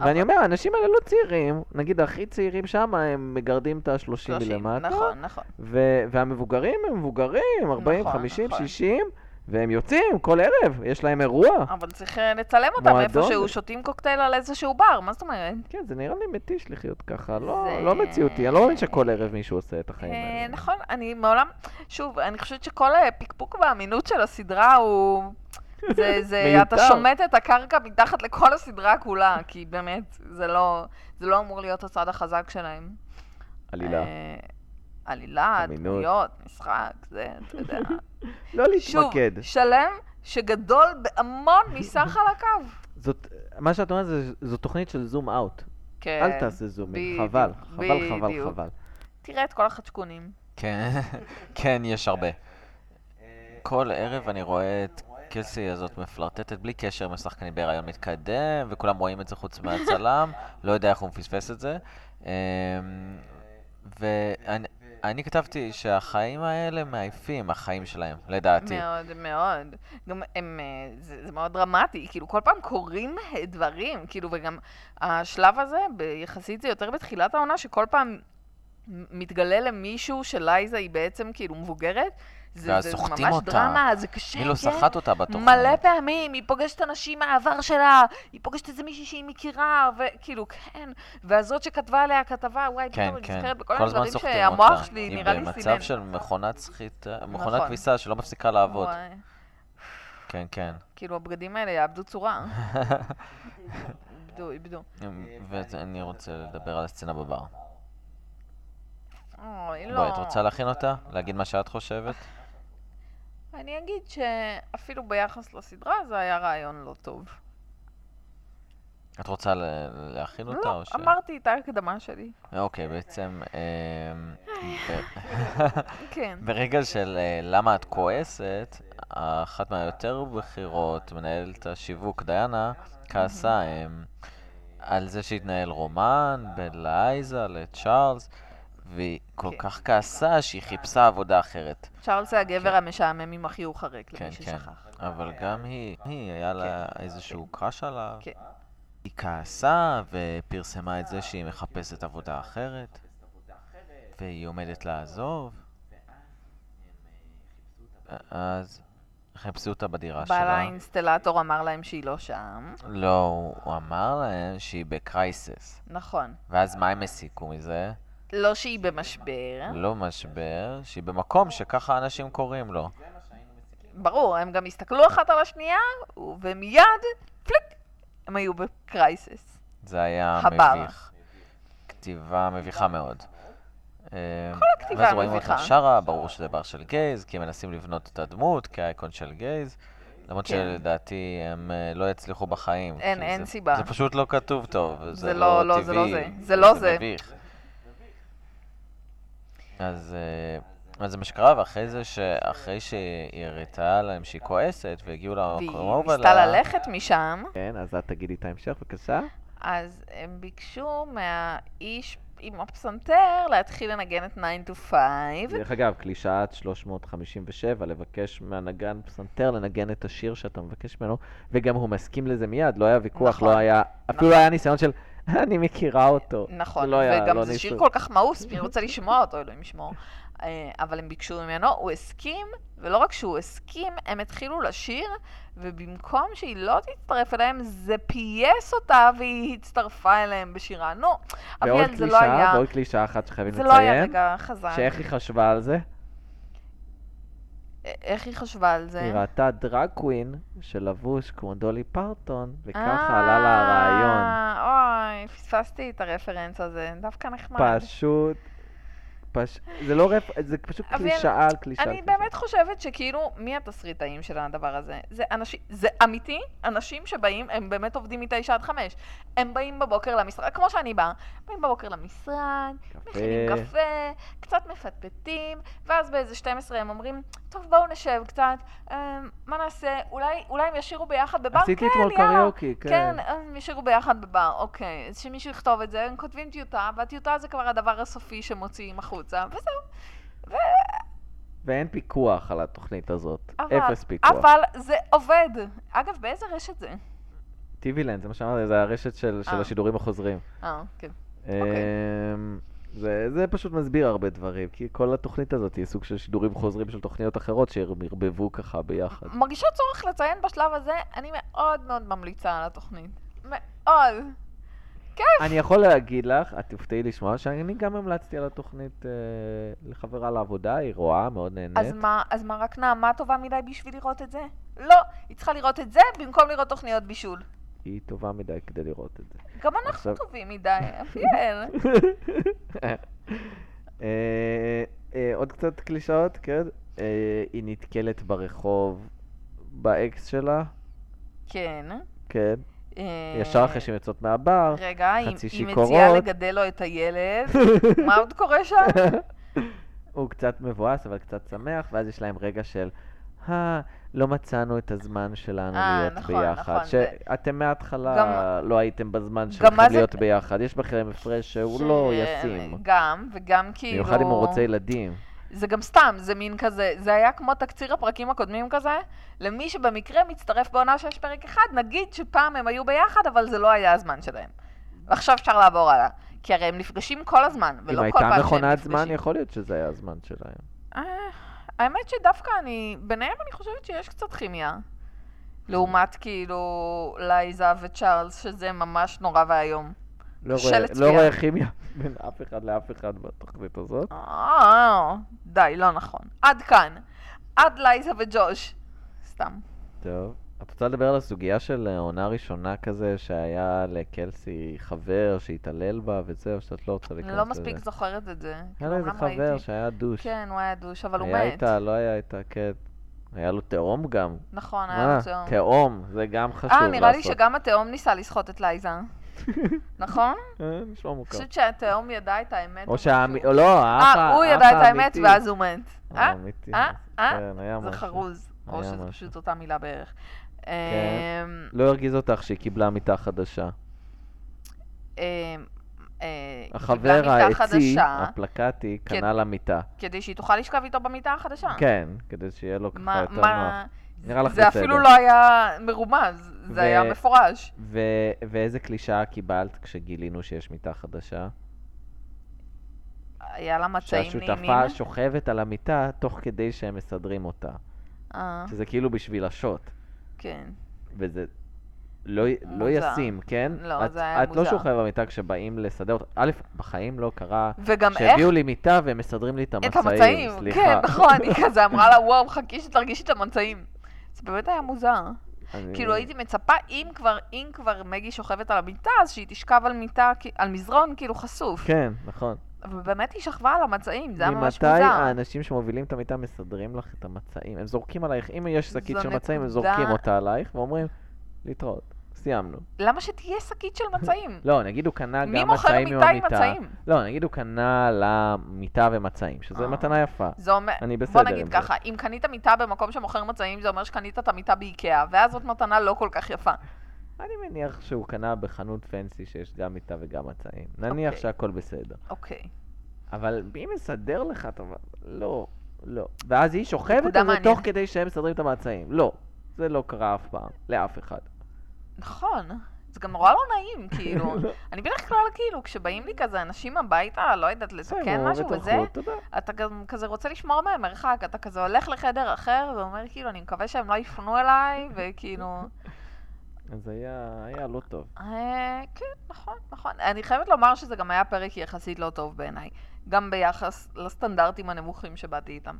Speaker 3: אבל-
Speaker 2: ואני אומר, האנשים האלה לא צעירים, נגיד הכי צעירים שם, הם מגרדים את ה-30
Speaker 3: 30,
Speaker 2: מלמטה,
Speaker 3: נכון, נכון.
Speaker 2: ו- והמבוגרים הם מבוגרים, 40,
Speaker 3: נכון,
Speaker 2: 50,
Speaker 3: נכון.
Speaker 2: 60, והם יוצאים כל ערב, יש להם אירוע.
Speaker 3: אבל צריך אה, לצלם אותם
Speaker 2: מועדון.
Speaker 3: איפשהו, שותים קוקטייל על איזשהו בר, מה זאת אומרת?
Speaker 2: כן, זה נראה לי מתיש לחיות ככה, לא,
Speaker 3: זה-
Speaker 2: לא מציאותי, אני לא מאמין שכל ערב מישהו עושה את החיים
Speaker 3: אה,
Speaker 2: האלה.
Speaker 3: נכון, אני מעולם, שוב, אני חושבת שכל אה, פקפוק באמינות של הסדרה הוא... זה, זה, אתה
Speaker 2: מיותר.
Speaker 3: שומט את הקרקע מתחת לכל הסדרה כולה, כי באמת, זה לא, זה לא אמור להיות הצד החזק שלהם.
Speaker 2: עלילה.
Speaker 3: אה, עלילה,
Speaker 2: אמינות.
Speaker 3: דמויות, משחק, זה, אתה יודע.
Speaker 2: לא להתמקד.
Speaker 3: שוב, שלם שגדול בהמון מסך על הקו.
Speaker 2: זאת, מה שאת אומרת זה, זו תוכנית של זום אאוט.
Speaker 3: כן.
Speaker 2: אל תעשה זום אין,
Speaker 3: בדיוק,
Speaker 2: חבל, חבל, חבל,
Speaker 3: בדיוק.
Speaker 2: חבל.
Speaker 3: תראה את כל החדשקונים.
Speaker 4: כן, כן, יש הרבה. כל ערב אני רואה את קלסי הזאת מפלרטטת בלי קשר עם השחקנים בהיריון מתקדם, וכולם רואים את זה חוץ מהצלם, לא יודע איך הוא מפספס את זה. אמ, ואני אני כתבתי שהחיים האלה מעייפים, החיים שלהם, לדעתי.
Speaker 3: מאוד, מאוד. גם הם, אה, זה, זה מאוד דרמטי, כאילו כל פעם קורים אה, דברים, כאילו, וגם השלב הזה, ב- יחסית זה יותר בתחילת העונה, שכל פעם מ- מתגלה למישהו שלייזה היא בעצם כאילו מבוגרת. זה,
Speaker 4: ואז
Speaker 3: זה ממש
Speaker 4: סוחטים אותה.
Speaker 3: דרמה, זה קשה,
Speaker 4: מילו
Speaker 3: כן.
Speaker 4: סחט אותה בתוכנית.
Speaker 3: מלא פעמים, היא פוגשת אנשים מהעבר שלה, היא פוגשת איזה מישהי שהיא מכירה, וכאילו, כן. והזאת שכתבה עליה כתבה, וואי,
Speaker 4: כן,
Speaker 3: פתאום אני
Speaker 4: כן.
Speaker 3: נזכרת בכל
Speaker 4: כל
Speaker 3: מיני
Speaker 4: הזמן
Speaker 3: דברים
Speaker 4: סוחטים אותה.
Speaker 3: שהמוח שלי
Speaker 4: היא
Speaker 3: נראה לי סינן.
Speaker 4: במצב של מכונת סחיטה, מכונת
Speaker 3: נכון.
Speaker 4: כביסה שלא מפסיקה לעבוד.
Speaker 3: וואי,
Speaker 4: כן, כן.
Speaker 3: כאילו, הבגדים האלה יאבדו צורה. איבדו, איבדו.
Speaker 4: ואני רוצה לדבר על הסצנה בבר.
Speaker 3: אוי, לא.
Speaker 4: בואי, את רוצה להכין אותה? להגיד מה שאת חושבת?
Speaker 3: אני אגיד שאפילו ביחס לסדרה זה היה רעיון לא טוב.
Speaker 4: את רוצה ל- להכין אותה
Speaker 3: לא,
Speaker 4: או ש...
Speaker 3: אמרתי את ההקדמה שלי.
Speaker 4: אוקיי, בעצם... אמ, ב-
Speaker 3: כן.
Speaker 4: ברגע של אה, למה את כועסת, אחת מהיותר בכירות, מנהלת השיווק דיאנה, כעסה אמ, על זה שהתנהל רומן בין לייזה לצ'ארלס, והיא כל
Speaker 3: כן.
Speaker 4: כך כעסה שהיא חיפשה עבודה אחרת.
Speaker 3: צ'ארלס זה הגבר
Speaker 4: כן.
Speaker 3: המשעמם עם החיוך הריק,
Speaker 4: כן,
Speaker 3: למי
Speaker 4: כן.
Speaker 3: ששכח.
Speaker 4: אבל גם היא, היא, היה לה איזשהו קראש עליו.
Speaker 3: כן.
Speaker 4: היא כעסה ופרסמה את זה שהיא מחפשת עבודה אחרת, והיא עומדת לעזוב. אז חיפשו אותה בדירה
Speaker 3: בעל
Speaker 4: שלה.
Speaker 3: האינסטלטור אמר להם שהיא לא שם.
Speaker 4: לא, הוא- הוא אמר להם שהיא בקרייסס.
Speaker 3: נכון.
Speaker 4: ואז מה הם הסיקו מזה?
Speaker 3: לא שהיא במשבר.
Speaker 4: לא משבר, שהיא במקום שככה אנשים קוראים לו.
Speaker 3: ברור, הם גם הסתכלו אחת על השנייה, ומיד, פליק, הם היו בקרייסס.
Speaker 4: זה היה
Speaker 3: הבר.
Speaker 4: מביך. כתיבה מביכה מאוד. כל
Speaker 3: הכתיבה
Speaker 4: ואז רואים אותה
Speaker 3: מביכה.
Speaker 4: שרה, ברור שזה בר של גייז, כי הם מנסים לבנות את הדמות כאייקון של גייז. למרות
Speaker 3: כן.
Speaker 4: שלדעתי הם אה, לא יצליחו בחיים.
Speaker 3: אין-
Speaker 4: כי
Speaker 3: אין
Speaker 4: זה-
Speaker 3: סיבה.
Speaker 4: זה פשוט לא כתוב טוב, זה
Speaker 3: זה
Speaker 4: לא
Speaker 3: לא- לא,
Speaker 4: טבעי.
Speaker 3: זה לא זה. זה לא זה.
Speaker 4: מביך. אז אה, אז זה מה שקרה, ואחרי זה, שאחרי שהיא הראתה להם שהיא כועסת, והגיעו
Speaker 3: והיא
Speaker 4: למקום
Speaker 3: ניסתה ללכת משם,
Speaker 2: כן, אז את תגידי את ההמשך, בבקשה.
Speaker 3: אז הם ביקשו מהאיש עם הפסנתר להתחיל לנגן את 9 to 5.
Speaker 2: דרך אגב, קלישאת 357, לבקש מהנגן פסנתר לנגן את השיר שאתה מבקש ממנו, וגם הוא מסכים לזה מיד, לא היה ויכוח,
Speaker 3: נכון,
Speaker 2: לא היה, אפילו
Speaker 3: נכון.
Speaker 2: לא היה ניסיון של, אני מכירה אותו.
Speaker 3: נכון,
Speaker 2: לא היה,
Speaker 3: וגם
Speaker 2: לא
Speaker 3: זה
Speaker 2: ניסו.
Speaker 3: שיר כל כך מאוס, מי רוצה לשמוע אותו, אלוהים ישמור. אה, אבל הם ביקשו ממנו, הוא הסכים, ולא רק שהוא הסכים, הם התחילו לשיר, ובמקום שהיא לא תצטרף אליהם, זה פייס אותה, והיא הצטרפה אליהם בשירה. נו,
Speaker 2: ועוד
Speaker 3: אביאל, זה לא
Speaker 2: קלישאה,
Speaker 3: היה,
Speaker 2: ועוד קלישאה אחת שחייבים
Speaker 3: זה לא היה
Speaker 2: לציין,
Speaker 3: רגע חזק.
Speaker 2: שאיך היא חשבה על זה?
Speaker 3: א- אה, איך היא חשבה על זה?
Speaker 2: היא ראתה דרג קווין שלבוש כמו דולי פרטון, וככה
Speaker 3: אה,
Speaker 2: עלה לה הרעיון.
Speaker 3: אוי, פספסתי את הרפרנס הזה, דווקא נחמד.
Speaker 2: פשוט... פש... זה לא רפ... זה פשוט
Speaker 3: אבל
Speaker 2: קלישאה על קלישאה.
Speaker 3: אני
Speaker 2: על קלישאה.
Speaker 3: באמת חושבת שכאילו, מי התסריטאים של הדבר הזה? זה אנשים, זה אמיתי, אנשים שבאים, הם באמת עובדים מתשע עד חמש. הם באים בבוקר למשרד, כמו שאני באה, באים בבוקר למשרד, מכינים
Speaker 2: קפה.
Speaker 3: קפה, קצת מפטפטים, ואז באיזה 12 הם אומרים, טוב, בואו נשב קצת, אה, מה נעשה, אולי, אולי הם ישירו ביחד בבר?
Speaker 2: עשיתי
Speaker 3: כן,
Speaker 2: אתמול
Speaker 3: יאללה.
Speaker 2: קריוקי, כן.
Speaker 3: כן, הם ישאירו ביחד בבר, אוקיי. אז שמישהו יכתוב את זה, הם כותבים טיוטה, והטיוטה זה כבר הדבר הסופי שמוציאים החוצה, וזהו.
Speaker 2: ואין פיקוח על התוכנית הזאת.
Speaker 3: אבל,
Speaker 2: אפס פיקוח.
Speaker 3: אבל זה עובד. אגב, באיזה רשת זה?
Speaker 2: טיבילנד, זה מה שאמרתי, זה הרשת של של
Speaker 3: אה.
Speaker 2: השידורים החוזרים.
Speaker 3: אה, כן.
Speaker 2: אמ, זה זה פשוט מסביר הרבה דברים, כי כל התוכנית הזאת היא סוג של שידורים חוזרים של תוכניות אחרות שערבבו ככה ביחד.
Speaker 3: מרגישה צורך לציין בשלב הזה, אני מאוד מאוד ממליצה על התוכנית. מאוד.
Speaker 2: אני יכול להגיד לך, את תופתעי לשמוע, שאני גם המלצתי על התוכנית אה, לחברה לעבודה, היא רואה, מאוד
Speaker 3: אז
Speaker 2: נהנית.
Speaker 3: מה, אז מה, רק נעמה טובה מדי בשביל לראות את זה? לא, היא צריכה לראות את זה במקום לראות תוכניות בישול.
Speaker 2: היא טובה מדי כדי לראות את זה.
Speaker 3: גם אנחנו
Speaker 2: עכשיו-
Speaker 3: טובים מדי, אביאל.
Speaker 2: אה, אה, עוד קצת קלישאות, כן? אה, היא נתקלת ברחוב באקס שלה,
Speaker 3: כן.
Speaker 2: כן?
Speaker 3: אה,
Speaker 2: ישר אחרי שהן יוצאות מהבר.
Speaker 3: רגע, היא
Speaker 2: חצי
Speaker 3: היא מציעה
Speaker 2: שיכורות.
Speaker 3: לגדל לו את הילד. מה עוד קורה שם?
Speaker 2: הוא קצת מבואס, אבל קצת שמח, ואז יש להם רגע של, אה, לא מצאנו את הזמן שלנו
Speaker 3: אה,
Speaker 2: להיות
Speaker 3: נכון,
Speaker 2: ביחד.
Speaker 3: נכון, זה-
Speaker 2: שאתם מההתחלה
Speaker 3: גם-
Speaker 2: לא הייתם בזמן
Speaker 3: גם מה
Speaker 2: שלכם
Speaker 3: זה-
Speaker 2: להיות ביחד. יש בכם הפרש שהוא לא ישים.
Speaker 3: גם, וגם כאילו...
Speaker 2: במיוחד אם הוא רוצה ילדים.
Speaker 3: זה גם סתם, זה מין כזה, זה היה כמו תקציר הפרקים הקודמים כזה, למי שבמקרה מצטרף בעונה שיש פרק אחד, נגיד שפעם הם היו ביחד, אבל זה לא היה הזמן שלהם. ועכשיו אפשר לעבור הלאה. כי הרי הם נפגשים כל הזמן,
Speaker 2: אם
Speaker 3: ולא כל פעם
Speaker 2: הייתה
Speaker 3: שהם נפגשים.
Speaker 2: מכונת זמן, יכול להיות שזה היה הזמן שלהם.
Speaker 3: אה, האמת שדווקא אני, ביניהם אני חושבת שיש קצת כימיה. לעומת כאילו לייזה וצ'ארלס, שזה ממש נורא ואיום.
Speaker 2: לא
Speaker 3: קשה
Speaker 2: רואה- לא
Speaker 3: לצפייה.
Speaker 2: רואה כימיה בין אף אחד לאף אחד בתוכנית הזאת.
Speaker 3: אה, די, לא נכון. עד כאן. עד לייזה וג'וש. סתם.
Speaker 2: טוב. את רוצה לדבר על הסוגיה של אה, עונה ראשונה כזה, שהיה לקלסי חבר שהתעלל בה וזה, או שאת לא רוצה להיכנס
Speaker 3: אני
Speaker 2: לזה?
Speaker 3: לא מספיק זוכרת את זה.
Speaker 2: היה לה איזה
Speaker 3: אומנם ראיתי.
Speaker 2: חבר שהיה דוש.
Speaker 3: כן, הוא היה דוש, אבל הוא
Speaker 2: היה
Speaker 3: מת.
Speaker 2: איתה, לא היה איתה, כן. היה לו תאום גם.
Speaker 3: נכון, היה
Speaker 2: מה?
Speaker 3: לו תאום.
Speaker 2: תאום, זה גם חשוב לעשות.
Speaker 3: אה, נראה לי שגם התאום ניסה לסחוט את לייזה. נכון?
Speaker 2: אה, נשמע
Speaker 3: אני
Speaker 2: מוכר.
Speaker 3: חושבת שהתאום ידע את האמת.
Speaker 2: או
Speaker 3: או
Speaker 2: שהאמי...
Speaker 3: משהו.
Speaker 2: לא, האח
Speaker 3: אה, הוא ידע את האמת
Speaker 2: האמיתי.
Speaker 3: ואז הוא מת. אה?
Speaker 2: האמיתי.
Speaker 3: אה? אה?
Speaker 2: כן, היה
Speaker 3: זה
Speaker 2: משהו.
Speaker 3: חרוז.
Speaker 2: היה
Speaker 3: או שזה
Speaker 2: משהו.
Speaker 3: פשוט אותה מילה בערך. אמ,
Speaker 2: לא הרגיז אותך שהיא קיבלה מיטה חדשה.
Speaker 3: אמ, אה, קיבלה
Speaker 2: החבר
Speaker 3: מיטה
Speaker 2: העצי,
Speaker 3: חדשה,
Speaker 2: הפלקטי,
Speaker 3: כן.
Speaker 2: קנה לה מיטה.
Speaker 3: כדי שהיא תוכל לשכב איתו במיטה החדשה.
Speaker 2: כן, כדי שיהיה לו ככה
Speaker 3: מה,
Speaker 2: יותר נוח.
Speaker 3: מה...
Speaker 2: נראה לך
Speaker 3: זה
Speaker 2: בסדר.
Speaker 3: אפילו לא היה מרומז,
Speaker 2: ו-
Speaker 3: זה היה מפורש.
Speaker 2: ו- ואיזה קלישאה קיבלת כשגילינו שיש מיטה חדשה?
Speaker 3: היה לה מצעים נעימים.
Speaker 2: שהשותפה שוכבת על המיטה תוך כדי שהם מסדרים אותה.
Speaker 3: אה,
Speaker 2: שזה כאילו בשביל השוט.
Speaker 3: כן.
Speaker 2: וזה לא, י- לא
Speaker 3: מוזר.
Speaker 2: ישים, כן?
Speaker 3: לא,
Speaker 2: את,
Speaker 3: זה היה
Speaker 2: את לא
Speaker 3: מוזר.
Speaker 2: שוכבת במיטה כשבאים לסדר אותה. א', בחיים לא קרה
Speaker 3: וגם איך
Speaker 2: שהביאו לי מיטה והם מסדרים לי את המצעים.
Speaker 3: את המצעים,
Speaker 2: סליחה.
Speaker 3: כן, נכון, היא כזה אמרה לה, וואו, חכי שתרגישי את המצעים. זה באמת היה מוזר.
Speaker 2: אני-
Speaker 3: כאילו הייתי מצפה, אם כבר, אם כבר מגי שוכבת על המיטה, אז שהיא תשכב על מיטה, כי- על מזרון, כאילו חשוף.
Speaker 2: כן, נכון.
Speaker 3: אבל באמת היא שכבה על המצעים, זה היה ממש
Speaker 2: ממתי
Speaker 3: מוזר.
Speaker 2: האנשים שמובילים את המיטה מסדרים לך את המצעים? הם זורקים עלייך, אם יש שקית
Speaker 3: זו
Speaker 2: של מצעים, הם
Speaker 3: נקודה-
Speaker 2: זורקים אותה עלייך ואומרים, להתראות, סיימנו.
Speaker 3: למה שתהיה שקית של מצעים?
Speaker 2: לא, נגיד הוא קנה
Speaker 3: מי
Speaker 2: גם
Speaker 3: מוכר
Speaker 2: מצעים עם
Speaker 3: מיטה עם
Speaker 2: המיטה.
Speaker 3: מצעים?
Speaker 2: לא, נגיד הוא קנה לה מיטה ומצעים, שזה
Speaker 3: אה.
Speaker 2: מתנה יפה.
Speaker 3: זה אומר,
Speaker 2: אני
Speaker 3: בוא
Speaker 2: בסדר עם
Speaker 3: נגיד
Speaker 2: זה.
Speaker 3: ככה, אם קנית מיטה במקום שמוכר מצעים, זה אומר שקנית את המיטה באיקאה, ואז זאת מתנה לא כל כך יפה.
Speaker 2: אני מניח שהוא קנה בחנות פנסי שיש גם מיטה וגם מצעים. נניח
Speaker 3: אוקיי.
Speaker 2: שהכל בסדר.
Speaker 3: אוקיי.
Speaker 2: אבל מי מסדר לך את ה... לא, לא. ואז היא שוכבת
Speaker 3: נקודה
Speaker 2: על זה תוך
Speaker 3: מעניינת.
Speaker 2: כדי שהם מסדרים את המצעים. לא, זה לא קרה אף פעם, לאף אחד.
Speaker 3: נכון. זה גם נורא לא נעים, כאילו.
Speaker 2: לא.
Speaker 3: אני בדרך כלל, כאילו, כשבאים לי כזה אנשים הביתה, לא יודעת,
Speaker 2: בסדר,
Speaker 3: לתקן משהו
Speaker 2: אוהבת
Speaker 3: וזה,
Speaker 2: הלכות, תודה.
Speaker 3: אתה גם כזה רוצה לשמור מהם מרחק, אתה כזה הולך לחדר אחר ואומר, כאילו, אני מקווה שהם לא יפנו אליי, וכאילו...
Speaker 2: אז היה, היה לא טוב.
Speaker 3: אה, כן, נכון, נכון. אני חייבת לומר שזה גם היה פרק יחסית לא טוב בעיניי. גם ביחס לסטנדרטים הנמוכים שבאתי איתם.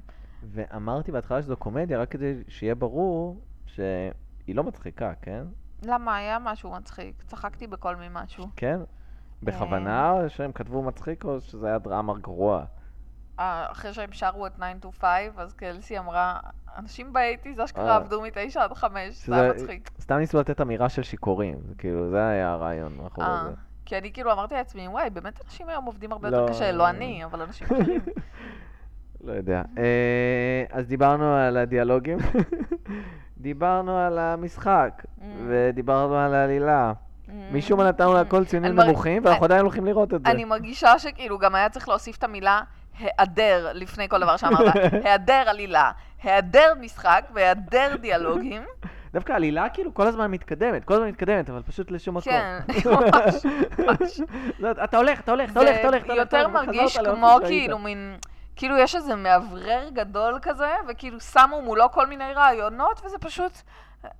Speaker 2: ואמרתי בהתחלה שזו קומדיה, רק כדי שיהיה ברור שהיא לא מצחיקה, כן?
Speaker 3: למה? היה משהו מצחיק. צחקתי בכל ממשהו.
Speaker 2: כן? בכוונה,
Speaker 3: כן.
Speaker 2: או שהם כתבו מצחיק, או שזה היה דרמה גרועה.
Speaker 3: אה, אחרי שהם שרו את 9 to 5, אז קלסי אמרה, אנשים באייטיז אשכרה
Speaker 2: אה.
Speaker 3: עבדו מ-9 עד 5, זה היה
Speaker 2: שזה-
Speaker 3: מצחיק.
Speaker 2: סתם ניסו לתת אמירה של שיכורים, זה כאילו, זה היה הרעיון מאחורי
Speaker 3: אה,
Speaker 2: זה.
Speaker 3: כי אני כאילו אמרתי לעצמי, וואי, באמת אנשים היום עובדים הרבה
Speaker 2: לא.
Speaker 3: יותר קשה, לא אני, אבל אנשים אחרים.
Speaker 2: לא יודע. אה, אז דיברנו על הדיאלוגים, דיברנו על המשחק,
Speaker 3: Mm.
Speaker 2: ודיברנו על העלילה. משום מה נתנו להכל ציונים
Speaker 3: אני מרג-
Speaker 2: נמוכים, ואנחנו
Speaker 3: אני-
Speaker 2: עדיין הולכים לראות את זה.
Speaker 3: Mm. Mm-hmm. אה, אני מרגישה שכאילו גם היה צריך להוסיף את המילה היעדר לפני כל דבר שאמרת. היעדר עלילה, היעדר משחק והיעדר דיאלוגים.
Speaker 2: דווקא העלילה כאילו כל הזמן מתקדמת, כל הזמן מתקדמת, אבל פשוט לשום מקום.
Speaker 3: כן, ממש, ממש.
Speaker 2: לא, אתה הולך, אתה לא. הולך, אתה הולך,
Speaker 3: זה
Speaker 2: אתה הולך. אתה הולך, אתה
Speaker 3: יותר
Speaker 2: הולך, לא וחזרת
Speaker 3: מרגיש
Speaker 2: לאן
Speaker 3: כמו
Speaker 2: שהיית.
Speaker 3: כאילו מין... כאילו יש איזה מאוורר גדול כזה, וכאילו שמו מולו כל מיני רעיונות, וזה פשוט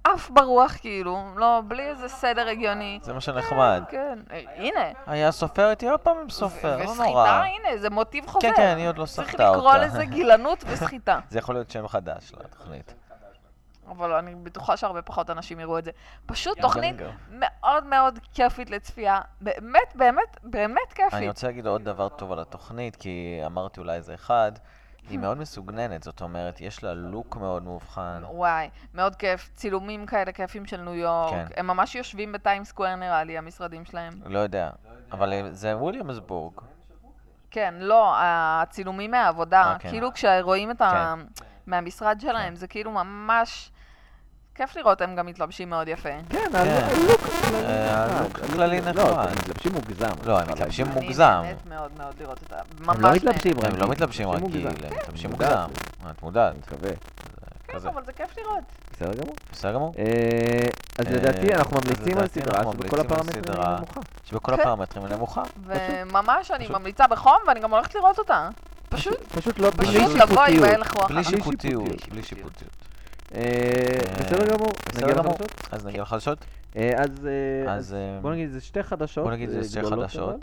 Speaker 3: עף ברוח כאילו, לא, בלי איזה סדר הגיוני.
Speaker 4: זה מה שנחמד.
Speaker 3: כן, אה, הנה.
Speaker 4: היה סופרת, היא עוד פעם עם סופר, לא נורא.
Speaker 3: וסחיטה, הנה, זה מוטיב חוזר.
Speaker 4: כן, כן, היא עוד לא
Speaker 3: צריך
Speaker 4: סחטה
Speaker 3: לקרוא
Speaker 4: אותה.
Speaker 3: לזה גילנות וסחיטה.
Speaker 4: זה יכול להיות שם חדש לתוכנית.
Speaker 3: אבל אני בטוחה שהרבה פחות אנשים יראו את זה. פשוט תוכנית
Speaker 4: גנגר.
Speaker 3: מאוד מאוד כיפית לצפייה. באמת, באמת, באמת
Speaker 4: אני
Speaker 3: כיפית.
Speaker 4: רוצה להגיד עוד דבר טוב על התוכנית, כי אמרתי אולי זה אחד.
Speaker 3: Hmm.
Speaker 4: היא מאוד מסוגננת, זאת אומרת, יש לה לוק מאוד מאובחן.
Speaker 3: וואי, מאוד כיף. צילומים כאלה כיפים של ניו יורק.
Speaker 4: כן.
Speaker 3: הם ממש יושבים בטיים סקוואר נראה לי, המשרדים שלהם.
Speaker 4: לא יודע, אבל אה, זה וויליאמסבורג.
Speaker 3: כן, לא, הצילומים מהעבודה.
Speaker 4: אה, כן.
Speaker 3: כאילו כשרואים את ה... מהמשרד שלהם, זה כאילו ממש... כיף לראות, הם גם מתלבשים מאוד יפה.
Speaker 2: כן,
Speaker 4: כן.
Speaker 2: הלוק כללי
Speaker 4: אה,
Speaker 2: נחמד.
Speaker 4: הלוק נכון. כללי
Speaker 2: לא,
Speaker 4: נחמד.
Speaker 2: הם מתלבשים מוגזם.
Speaker 4: לא, הם
Speaker 2: אפשר
Speaker 4: מתלבשים
Speaker 2: להגיד.
Speaker 4: מוגזם.
Speaker 3: אני נהנית מאוד מאוד לראות אותה. ממש
Speaker 2: הם לא מתלבשים
Speaker 4: הם
Speaker 2: רגיל.
Speaker 4: לא מתלבשים רגיל,
Speaker 2: מוגזם. אוקיי.
Speaker 4: הם מתלבשים
Speaker 2: מודעת
Speaker 4: מוגזם. אה,
Speaker 2: לזה.
Speaker 4: את מודעת.
Speaker 2: אני מקווה.
Speaker 3: נהנית.
Speaker 4: כזה.
Speaker 3: כן, אבל זה כיף לראות.
Speaker 2: בסדר גמור.
Speaker 4: בסדר גמור.
Speaker 2: אה, אז לדעתי
Speaker 4: אה,
Speaker 2: אנחנו
Speaker 4: אז
Speaker 2: ממליצים על
Speaker 4: לדעתי
Speaker 2: סדרה
Speaker 4: אנחנו
Speaker 2: שבכל
Speaker 4: ממליצים על
Speaker 2: הפרמטרים
Speaker 4: סדרה.
Speaker 2: היא נמוכה.
Speaker 4: שבכל
Speaker 3: כן.
Speaker 4: הפרמטרים היא נמוכה.
Speaker 3: וממש אני
Speaker 4: פשוט.
Speaker 3: ממליצה בחום, ואני גם הולכת לראות אותה. פשוט,
Speaker 2: פשוט לא בלי
Speaker 3: פשוט לבוא עם
Speaker 2: שיפוטיות.
Speaker 3: ההלך רוח.
Speaker 4: בלי
Speaker 3: אחר.
Speaker 2: שיפוט.
Speaker 4: שיפוטיות.
Speaker 2: שיפוטיות.
Speaker 4: בלי שיפוטיות.
Speaker 2: אה, בסדר גמור.
Speaker 4: בסדר
Speaker 2: נגיע
Speaker 4: גמור.
Speaker 2: לחדשות?
Speaker 4: אז נגיע לחדשות?
Speaker 2: אה, אז... אה,
Speaker 4: אז אה,
Speaker 2: בוא נגיד, זה שתי חדשות.
Speaker 4: בוא נגיד
Speaker 2: אה,
Speaker 4: זה שתי
Speaker 2: גדולות
Speaker 4: חדשות.
Speaker 2: אבל.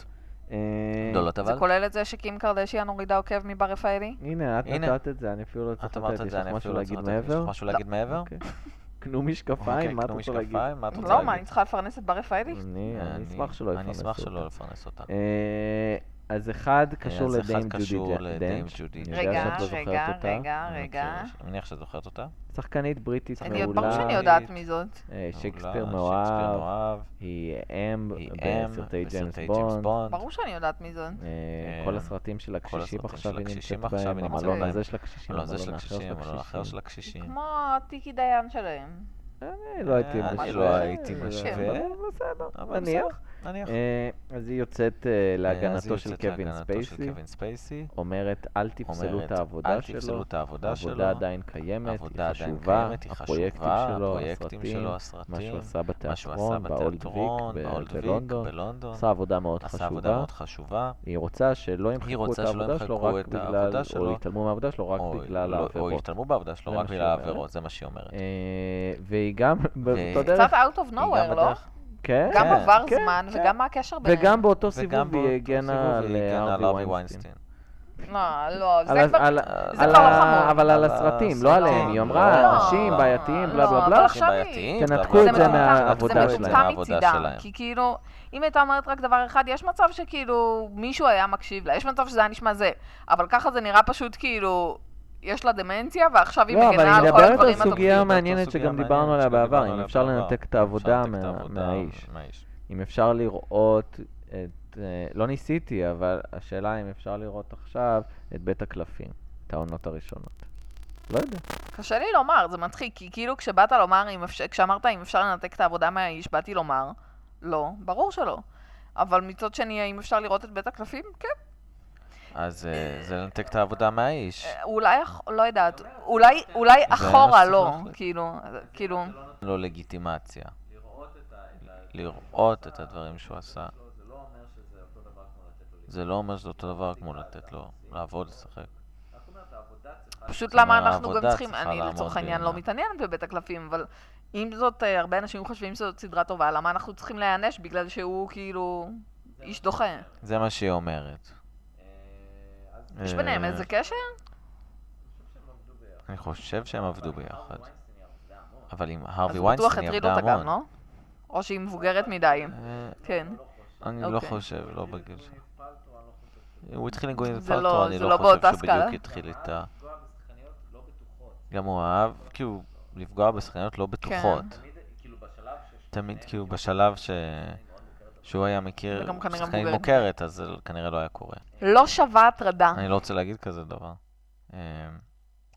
Speaker 2: אה,
Speaker 4: גדולות
Speaker 3: זה
Speaker 4: אבל.
Speaker 3: כולל את זה שקים קרדשיאן הורידה עוקב מבר רפאלי?
Speaker 2: הנה, את
Speaker 4: הנה.
Speaker 2: נתת את זה, אני אפילו לא צריך לתת,
Speaker 4: את אמרת
Speaker 2: יש
Speaker 4: את זה,
Speaker 2: לך
Speaker 4: אני
Speaker 2: משהו
Speaker 4: אפילו לא
Speaker 2: להגיד
Speaker 4: צריך לתת. יש
Speaker 2: מעבר?
Speaker 4: לך משהו להגיד מעבר?
Speaker 2: אוקיי. קנו
Speaker 4: אוקיי,
Speaker 2: משקפיים, מה את
Speaker 4: קנו
Speaker 2: רוצה להגיד?
Speaker 4: משקפיים, מה את רוצה
Speaker 3: לא,
Speaker 4: להגיד?
Speaker 3: מה, אני צריכה לפרנס את בר רפאלי?
Speaker 2: אני אני
Speaker 4: אני-
Speaker 2: אשמח שלא
Speaker 4: אני
Speaker 2: יפרנסו.
Speaker 4: אשמח שלא
Speaker 2: אותה.
Speaker 4: לפרנס אותה.
Speaker 2: אה, אז אחד קשור
Speaker 4: אז אחד
Speaker 2: לדיים
Speaker 4: קשור
Speaker 2: ג'ודי
Speaker 4: לדיים
Speaker 2: דנץ'.
Speaker 4: ג'ודי
Speaker 2: אני יודע
Speaker 3: רגע,
Speaker 2: שאת לא זוכרת
Speaker 3: רגע,
Speaker 2: אותה.
Speaker 3: רגע,
Speaker 4: אני
Speaker 3: רגע.
Speaker 4: מכיר, אני מניח שאת זוכרת
Speaker 2: אה,
Speaker 4: אותה.
Speaker 2: שחקנית בריטית
Speaker 3: אני עוד
Speaker 4: מעולה.
Speaker 3: ברור שאני
Speaker 2: מעולה,
Speaker 3: יודעת מי זאת.
Speaker 2: אה, שייקספיר
Speaker 4: מעולה, שייקספיר
Speaker 2: מאוהב,
Speaker 4: E מאוהב.
Speaker 2: היא אם
Speaker 4: היא אם
Speaker 2: בסרטי ג'יימס בונד.
Speaker 4: בונד.
Speaker 3: ברור שאני יודעת מי זאת.
Speaker 2: אה,
Speaker 4: אה,
Speaker 2: כל הסרטים של
Speaker 4: כל
Speaker 2: הקשישים
Speaker 4: הסרטים
Speaker 2: עכשיו
Speaker 4: של
Speaker 2: היא נמצאת
Speaker 4: הקשישים עכשיו
Speaker 2: בהם,
Speaker 4: היא נמצאת
Speaker 2: המלון
Speaker 3: בהם.
Speaker 2: הזה של הקשישים,
Speaker 4: לא, זה
Speaker 2: המלון
Speaker 4: של
Speaker 2: האחר
Speaker 4: הקשישים, אבל האחר של
Speaker 3: היא
Speaker 4: הקשישים.
Speaker 3: כמו טיקי דיין שלהם.
Speaker 2: אני לא הייתי
Speaker 4: אני
Speaker 2: משווה.
Speaker 3: לא
Speaker 4: הייתי
Speaker 2: אבל
Speaker 4: משווה.
Speaker 2: בסדר,
Speaker 4: כן. אבל
Speaker 2: נניח.
Speaker 4: בסדר, נניח.
Speaker 2: אה, אז היא יוצאת אה,
Speaker 4: אה, אז היא
Speaker 2: להגנתו של
Speaker 4: יוצאת
Speaker 2: קווין
Speaker 4: להגנתו של
Speaker 2: ספייסי,
Speaker 4: קווין ספייסי.
Speaker 2: אומרת אל תפסלו
Speaker 4: אומרת,
Speaker 2: את העבודה
Speaker 4: אל תפסלו
Speaker 2: שלו,
Speaker 4: את העבודה שלו.
Speaker 2: העבודה עדיין קיימת,
Speaker 4: העבודה
Speaker 2: היא
Speaker 4: עדיין
Speaker 2: חשובה,
Speaker 4: קיימת, היא
Speaker 2: הפרויקטים
Speaker 4: חשובה,
Speaker 2: שלו,
Speaker 4: הפרויקטים
Speaker 2: הסרטים,
Speaker 4: שלו,
Speaker 2: מה שהוא
Speaker 4: הסרטים,
Speaker 2: עשה
Speaker 4: מה שהוא עשה
Speaker 2: בתיאטרון, באולד
Speaker 4: בתיאטרון,
Speaker 2: ויק ב-
Speaker 4: באולד ויק
Speaker 2: בלונדון,
Speaker 4: בלונדון.
Speaker 2: עשה עבודה מאוד
Speaker 4: עשה עבודה
Speaker 2: חשובה,
Speaker 4: מאוד חשובה.
Speaker 2: היא רוצה שלא ימחקו את
Speaker 4: רוצה שלא
Speaker 2: העבודה שלו
Speaker 4: ימחקו
Speaker 2: רק
Speaker 4: את העבודה
Speaker 2: בגלל, או
Speaker 4: שלו.
Speaker 2: יתעלמו מהעבודה שלו רק
Speaker 4: או-
Speaker 2: בגלל
Speaker 4: לא, או
Speaker 2: העבירות.
Speaker 4: התעלמו בעבודה שלו
Speaker 2: זה
Speaker 4: רק
Speaker 2: מה שהיא
Speaker 4: בגלל
Speaker 2: אומרת.
Speaker 4: העבירות, זה מה שהיא אומרת.
Speaker 2: אה, והיא גם, באותה
Speaker 4: קצת
Speaker 2: דרך,
Speaker 3: קצת out of
Speaker 4: היא גם
Speaker 3: nowhere, לא?
Speaker 4: בדרך-
Speaker 2: כן,
Speaker 3: גם
Speaker 4: כן,
Speaker 3: עבר
Speaker 2: כן,
Speaker 3: זמן
Speaker 2: כן.
Speaker 3: וגם מה הקשר ביניהם.
Speaker 2: וגם באותו
Speaker 4: וגם
Speaker 2: סיבוב היא
Speaker 4: באותו
Speaker 2: הגנה
Speaker 4: סיבוב
Speaker 2: על אה,
Speaker 4: היא הגנה על
Speaker 2: ארווי ווינסטין.
Speaker 3: לא, לא, זה
Speaker 2: על ה-
Speaker 3: כבר...
Speaker 2: על-
Speaker 4: זה
Speaker 2: על
Speaker 4: כבר לא
Speaker 2: ה-
Speaker 3: חמור.
Speaker 2: אבל על
Speaker 4: על
Speaker 2: הסרטים,
Speaker 4: הסרטים.
Speaker 2: לא עליהם. היא
Speaker 3: לא,
Speaker 2: אמרה, אנשים
Speaker 4: אה, לא,
Speaker 2: בעייתיים, בלה
Speaker 3: לא,
Speaker 2: בלה
Speaker 3: אבל
Speaker 2: בלה.
Speaker 3: עכשיו היא-
Speaker 4: בעייתיים,
Speaker 2: תנתקו
Speaker 4: בלה,
Speaker 2: את
Speaker 4: בלה,
Speaker 2: זה
Speaker 4: בלה, בלה, בלה,
Speaker 2: מהעבודה
Speaker 4: בלה,
Speaker 2: שלהם.
Speaker 3: זה
Speaker 4: בלה,
Speaker 3: מטומטם
Speaker 4: מהעבודה
Speaker 3: מצידה,
Speaker 4: שלהם.
Speaker 3: כי כאילו, אם הייתה אומרת רק דבר אחד, יש מצב שכאילו מישהו היה מקשיב לה, יש מצב שזה היה נשמע זה, אבל ככה זה נראה פשוט כאילו, יש לה דמנציה, ועכשיו היא
Speaker 2: לא, אבל
Speaker 3: מגנה
Speaker 2: היא
Speaker 3: על כל
Speaker 2: מדברת על
Speaker 3: הדברים הטובים.
Speaker 4: מדברת
Speaker 2: סוגיה
Speaker 4: על
Speaker 2: מעניינת
Speaker 4: סוגיה
Speaker 2: שגם
Speaker 4: מעניינת
Speaker 2: דיברנו עליה
Speaker 4: שגם
Speaker 2: בעבר,
Speaker 4: דיברנו
Speaker 2: אם
Speaker 4: עליה
Speaker 2: אפשר
Speaker 4: בעבר.
Speaker 2: לנתק את העבודה
Speaker 4: אפשר לנתק את
Speaker 2: מה-
Speaker 4: העבודה
Speaker 2: מהאיש.
Speaker 4: מהאיש.
Speaker 2: אם אפשר לראות את... אה, לא ניסיתי, אבל השאלה אם אפשר לראות עכשיו את בית הקלפים, את העונות הראשונות. לא יודע.
Speaker 3: קשה לי לומר, זה מצחיק, כי כאילו כשבאת לומר, אם אפשר, כשאמרת אם אפשר לנתק את העבודה מהאיש, באתי לומר, לא, ברור שלא. אבל מצד שני, האם אפשר לראות את בית הקלפים? כן.
Speaker 4: אז אה, זה לנתק את העבודה מהאיש.
Speaker 3: אה, אולי, אח- לא יודעת, אולי, אולי
Speaker 4: מה
Speaker 3: אחורה
Speaker 4: שצריך
Speaker 3: לא,
Speaker 4: להחליט.
Speaker 3: כאילו, כאילו,
Speaker 4: לא לגיטימציה. לראות את הדברים שהוא עשה. זה לא אומר שזה אותו דבר כמו לתת לו לעבוד, לשחק.
Speaker 3: פשוט
Speaker 4: זאת אומרת,
Speaker 3: למה אנחנו גם
Speaker 4: העבודה
Speaker 3: צריכים,
Speaker 4: צריכה
Speaker 3: אני
Speaker 4: לעמוד
Speaker 3: לצורך העניין לא
Speaker 4: בעינה.
Speaker 3: מתעניינת בבית הקלפים, אבל אם זאת, אה, הרבה אנשים חושבים שזאת סדרה טובה, למה אנחנו צריכים להיענש בגלל שהוא כאילו איש דוחה?
Speaker 4: זה מה שהיא אומרת.
Speaker 3: יש ביניהם
Speaker 4: אה,
Speaker 3: איזה קשר?
Speaker 4: אני חושב שהם עבדו ביחד. אבל עם הרווי
Speaker 3: אז בטוח
Speaker 4: ויינסטיין היא
Speaker 3: הטריד
Speaker 4: עבדה
Speaker 3: אותה גם,
Speaker 4: המון.
Speaker 3: לא? או שהיא מבוגרת מדי.
Speaker 4: אה,
Speaker 3: כן.
Speaker 4: אני לא
Speaker 3: אוקיי.
Speaker 4: חושב, לא בגיל שלו. הוא התחיל עם גווינט
Speaker 3: זה לא-
Speaker 4: פלטו, אני
Speaker 3: זה
Speaker 4: לא
Speaker 3: לא
Speaker 4: חושב
Speaker 3: באותה
Speaker 4: שהוא
Speaker 3: סקאלה.
Speaker 4: בדיוק התחיל איתה. גם הוא אהב, כאילו, לפגוע בשחקניות
Speaker 3: כן.
Speaker 4: לא בטוחות. תמיד כאילו בשלב ש... שהוא היה מכיר
Speaker 3: וגם כנראה
Speaker 4: שחקנית
Speaker 3: מבוגרת.
Speaker 4: מוכרת, אז זה כנראה לא היה קורה.
Speaker 3: לא שווה הטרדה.
Speaker 4: אני לא רוצה להגיד כזה דבר. אמ,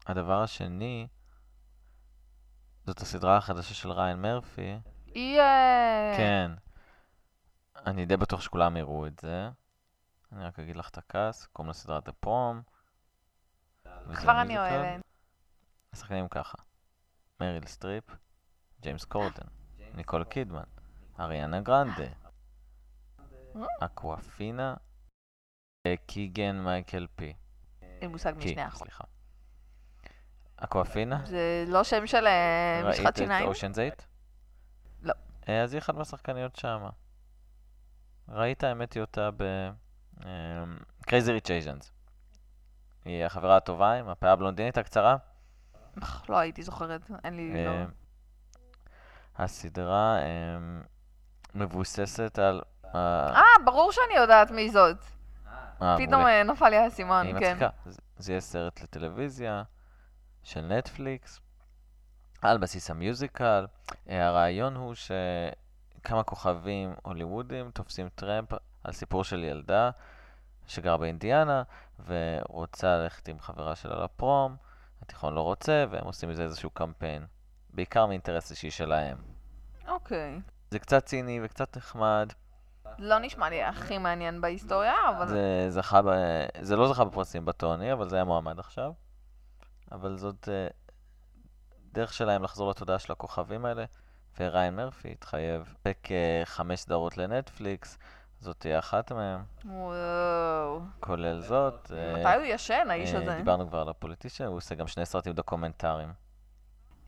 Speaker 4: הדבר השני, זאת הסדרה החדשה של ריין מרפי.
Speaker 3: היא... אה,
Speaker 4: כן. אני די בטוח שכולם יראו את זה. אני רק אגיד לך את הכעס, קוראים לסדרת הפום. וזה
Speaker 3: כבר אני
Speaker 4: מיוזיקל.
Speaker 3: אוהבת.
Speaker 4: השחקנים ככה. מריל סטריפ, ג'יימס קורדן, ניקול קידמן, אריאנה גרנדה, אקואפינה, אה, קיגן מייקל פי.
Speaker 3: אין לי מושג מי
Speaker 4: קי,
Speaker 3: שני אחוז.
Speaker 4: סליחה. אקואפינה?
Speaker 3: זה לא שם של אה, משחת שיניים?
Speaker 4: ראית את אושן זייט?
Speaker 3: לא.
Speaker 4: אז היא אחת מהשחקניות שמה. ראית, האמת היא אותה ב... אמ, קרייזי ריץ' אייז'נס. היא החברה הטובה עם הפאה הבלונדינית הקצרה.
Speaker 3: אך, לא הייתי זוכרת, אין לי... לא.
Speaker 4: אה, הסדרה אה, מבוססת על... אה,
Speaker 3: אה, ברור שאני יודעת מי זאת.
Speaker 4: אה,
Speaker 3: פתאום
Speaker 4: מעולה.
Speaker 3: אה, נפל לי האסימון,
Speaker 4: היא
Speaker 3: כן.
Speaker 4: מצחיקה. זה- זה יהיה סרט לטלוויזיה של נטפליקס, על בסיס המיוזיקל. אה, הרעיון הוא שכמה כוכבים הוליוודים תופסים טרמפ על סיפור של ילדה שגרה באינדיאנה ורוצה ללכת עם חברה שלה לפרום, התיכון לא רוצה, והם עושים מזה איזשהו קמפיין, בעיקר מאינטרס אישי שלהם.
Speaker 3: אוקיי.
Speaker 4: זה קצת ציני וקצת נחמד,
Speaker 3: לא נשמע לי הכי מעניין בהיסטוריה, אבל...
Speaker 4: זה זכה ב... זה לא זכה בפרסים בטוני, אבל זה היה מועמד עכשיו. אבל זאת אה, דרך שלהם לחזור לתודעה של הכוכבים האלה. וריין מרפי התחייב בכחמש סדרות לנטפליקס, זאת תהיה אחת מהן,
Speaker 3: וואו.
Speaker 4: כולל זאת. אה,
Speaker 3: מתי הוא ישן, האיש
Speaker 4: אה,
Speaker 3: הזה?
Speaker 4: דיברנו כבר על הפוליטישן, הוא עושה גם שני סרטים דוקומנטריים.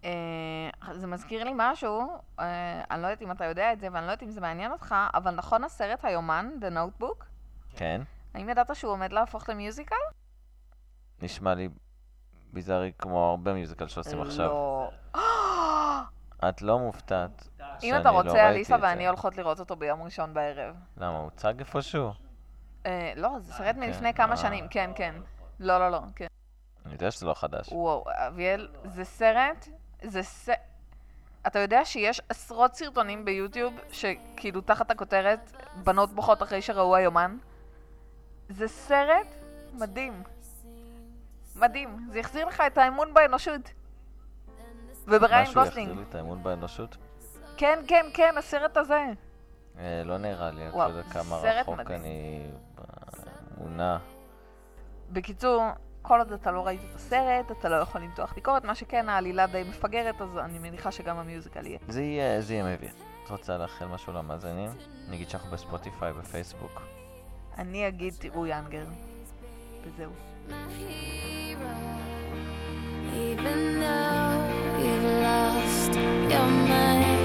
Speaker 3: אה, זה מזכיר לי משהו, אה, אני לא יודעת אם אתה יודע את זה, ואני לא יודעת אם זה מעניין אותך, אבל נכון הסרט היומן, The Notebook?
Speaker 4: כן,
Speaker 3: האם ידעת שהוא עומד להפוך למיוזיקל?
Speaker 4: נשמע לי ביזארי כמו הרבה מיוזיקל שעושים עכשיו.
Speaker 3: לא.
Speaker 4: את לא מופתעת
Speaker 3: אם
Speaker 4: שאני
Speaker 3: אתה
Speaker 4: לא
Speaker 3: רוצה,
Speaker 4: ראיתי
Speaker 3: אליסה
Speaker 4: את זה.
Speaker 3: ואני הולכות לראות אותו ביום ראשון בערב.
Speaker 4: למה, הוא הוצג איפשהו?
Speaker 3: אה, לא, זה סרט מלפני
Speaker 4: כן,
Speaker 3: כמה
Speaker 4: אה.
Speaker 3: שנים, כן, כן. לא, לא, לא, כן.
Speaker 4: אני יודע שזה לא חדש.
Speaker 3: וואו, אביאל, זה סרט, זה ס... אתה יודע שיש עשרות סרטונים ביוטיוב שכאילו תחת הכותרת בנות בוכות אחרי שראו היומן? זה סרט מדהים. מדהים. זה החזיר לך את האמון באנושות. ובריין
Speaker 4: משהו יחזיר
Speaker 3: גוסלינג.
Speaker 4: לי את האמון באנושות?
Speaker 3: כן, כן, כן, הסרט הזה.
Speaker 4: אה, לא נראה לי, אני לא
Speaker 3: וואו,
Speaker 4: יודע כמה
Speaker 3: סרט
Speaker 4: רחוק
Speaker 3: מדהים.
Speaker 4: אני באמונה.
Speaker 3: בקיצור, כל עוד אתה לא ראית את הסרט, אתה לא יכול למתוח ביקורת, מה שכן, העלילה די מפגרת, אז אני מניחה שגם המיוזיקל יהיה.
Speaker 4: זה יהיה זה יהיה מביך. את רוצה לאחל משהו למאזינים? נגיד שאנחנו בספוטיפיי, בפייסבוק.
Speaker 3: אני אגיד, תראו יאנגר. וזהו.
Speaker 5: Even though you've lost your mind.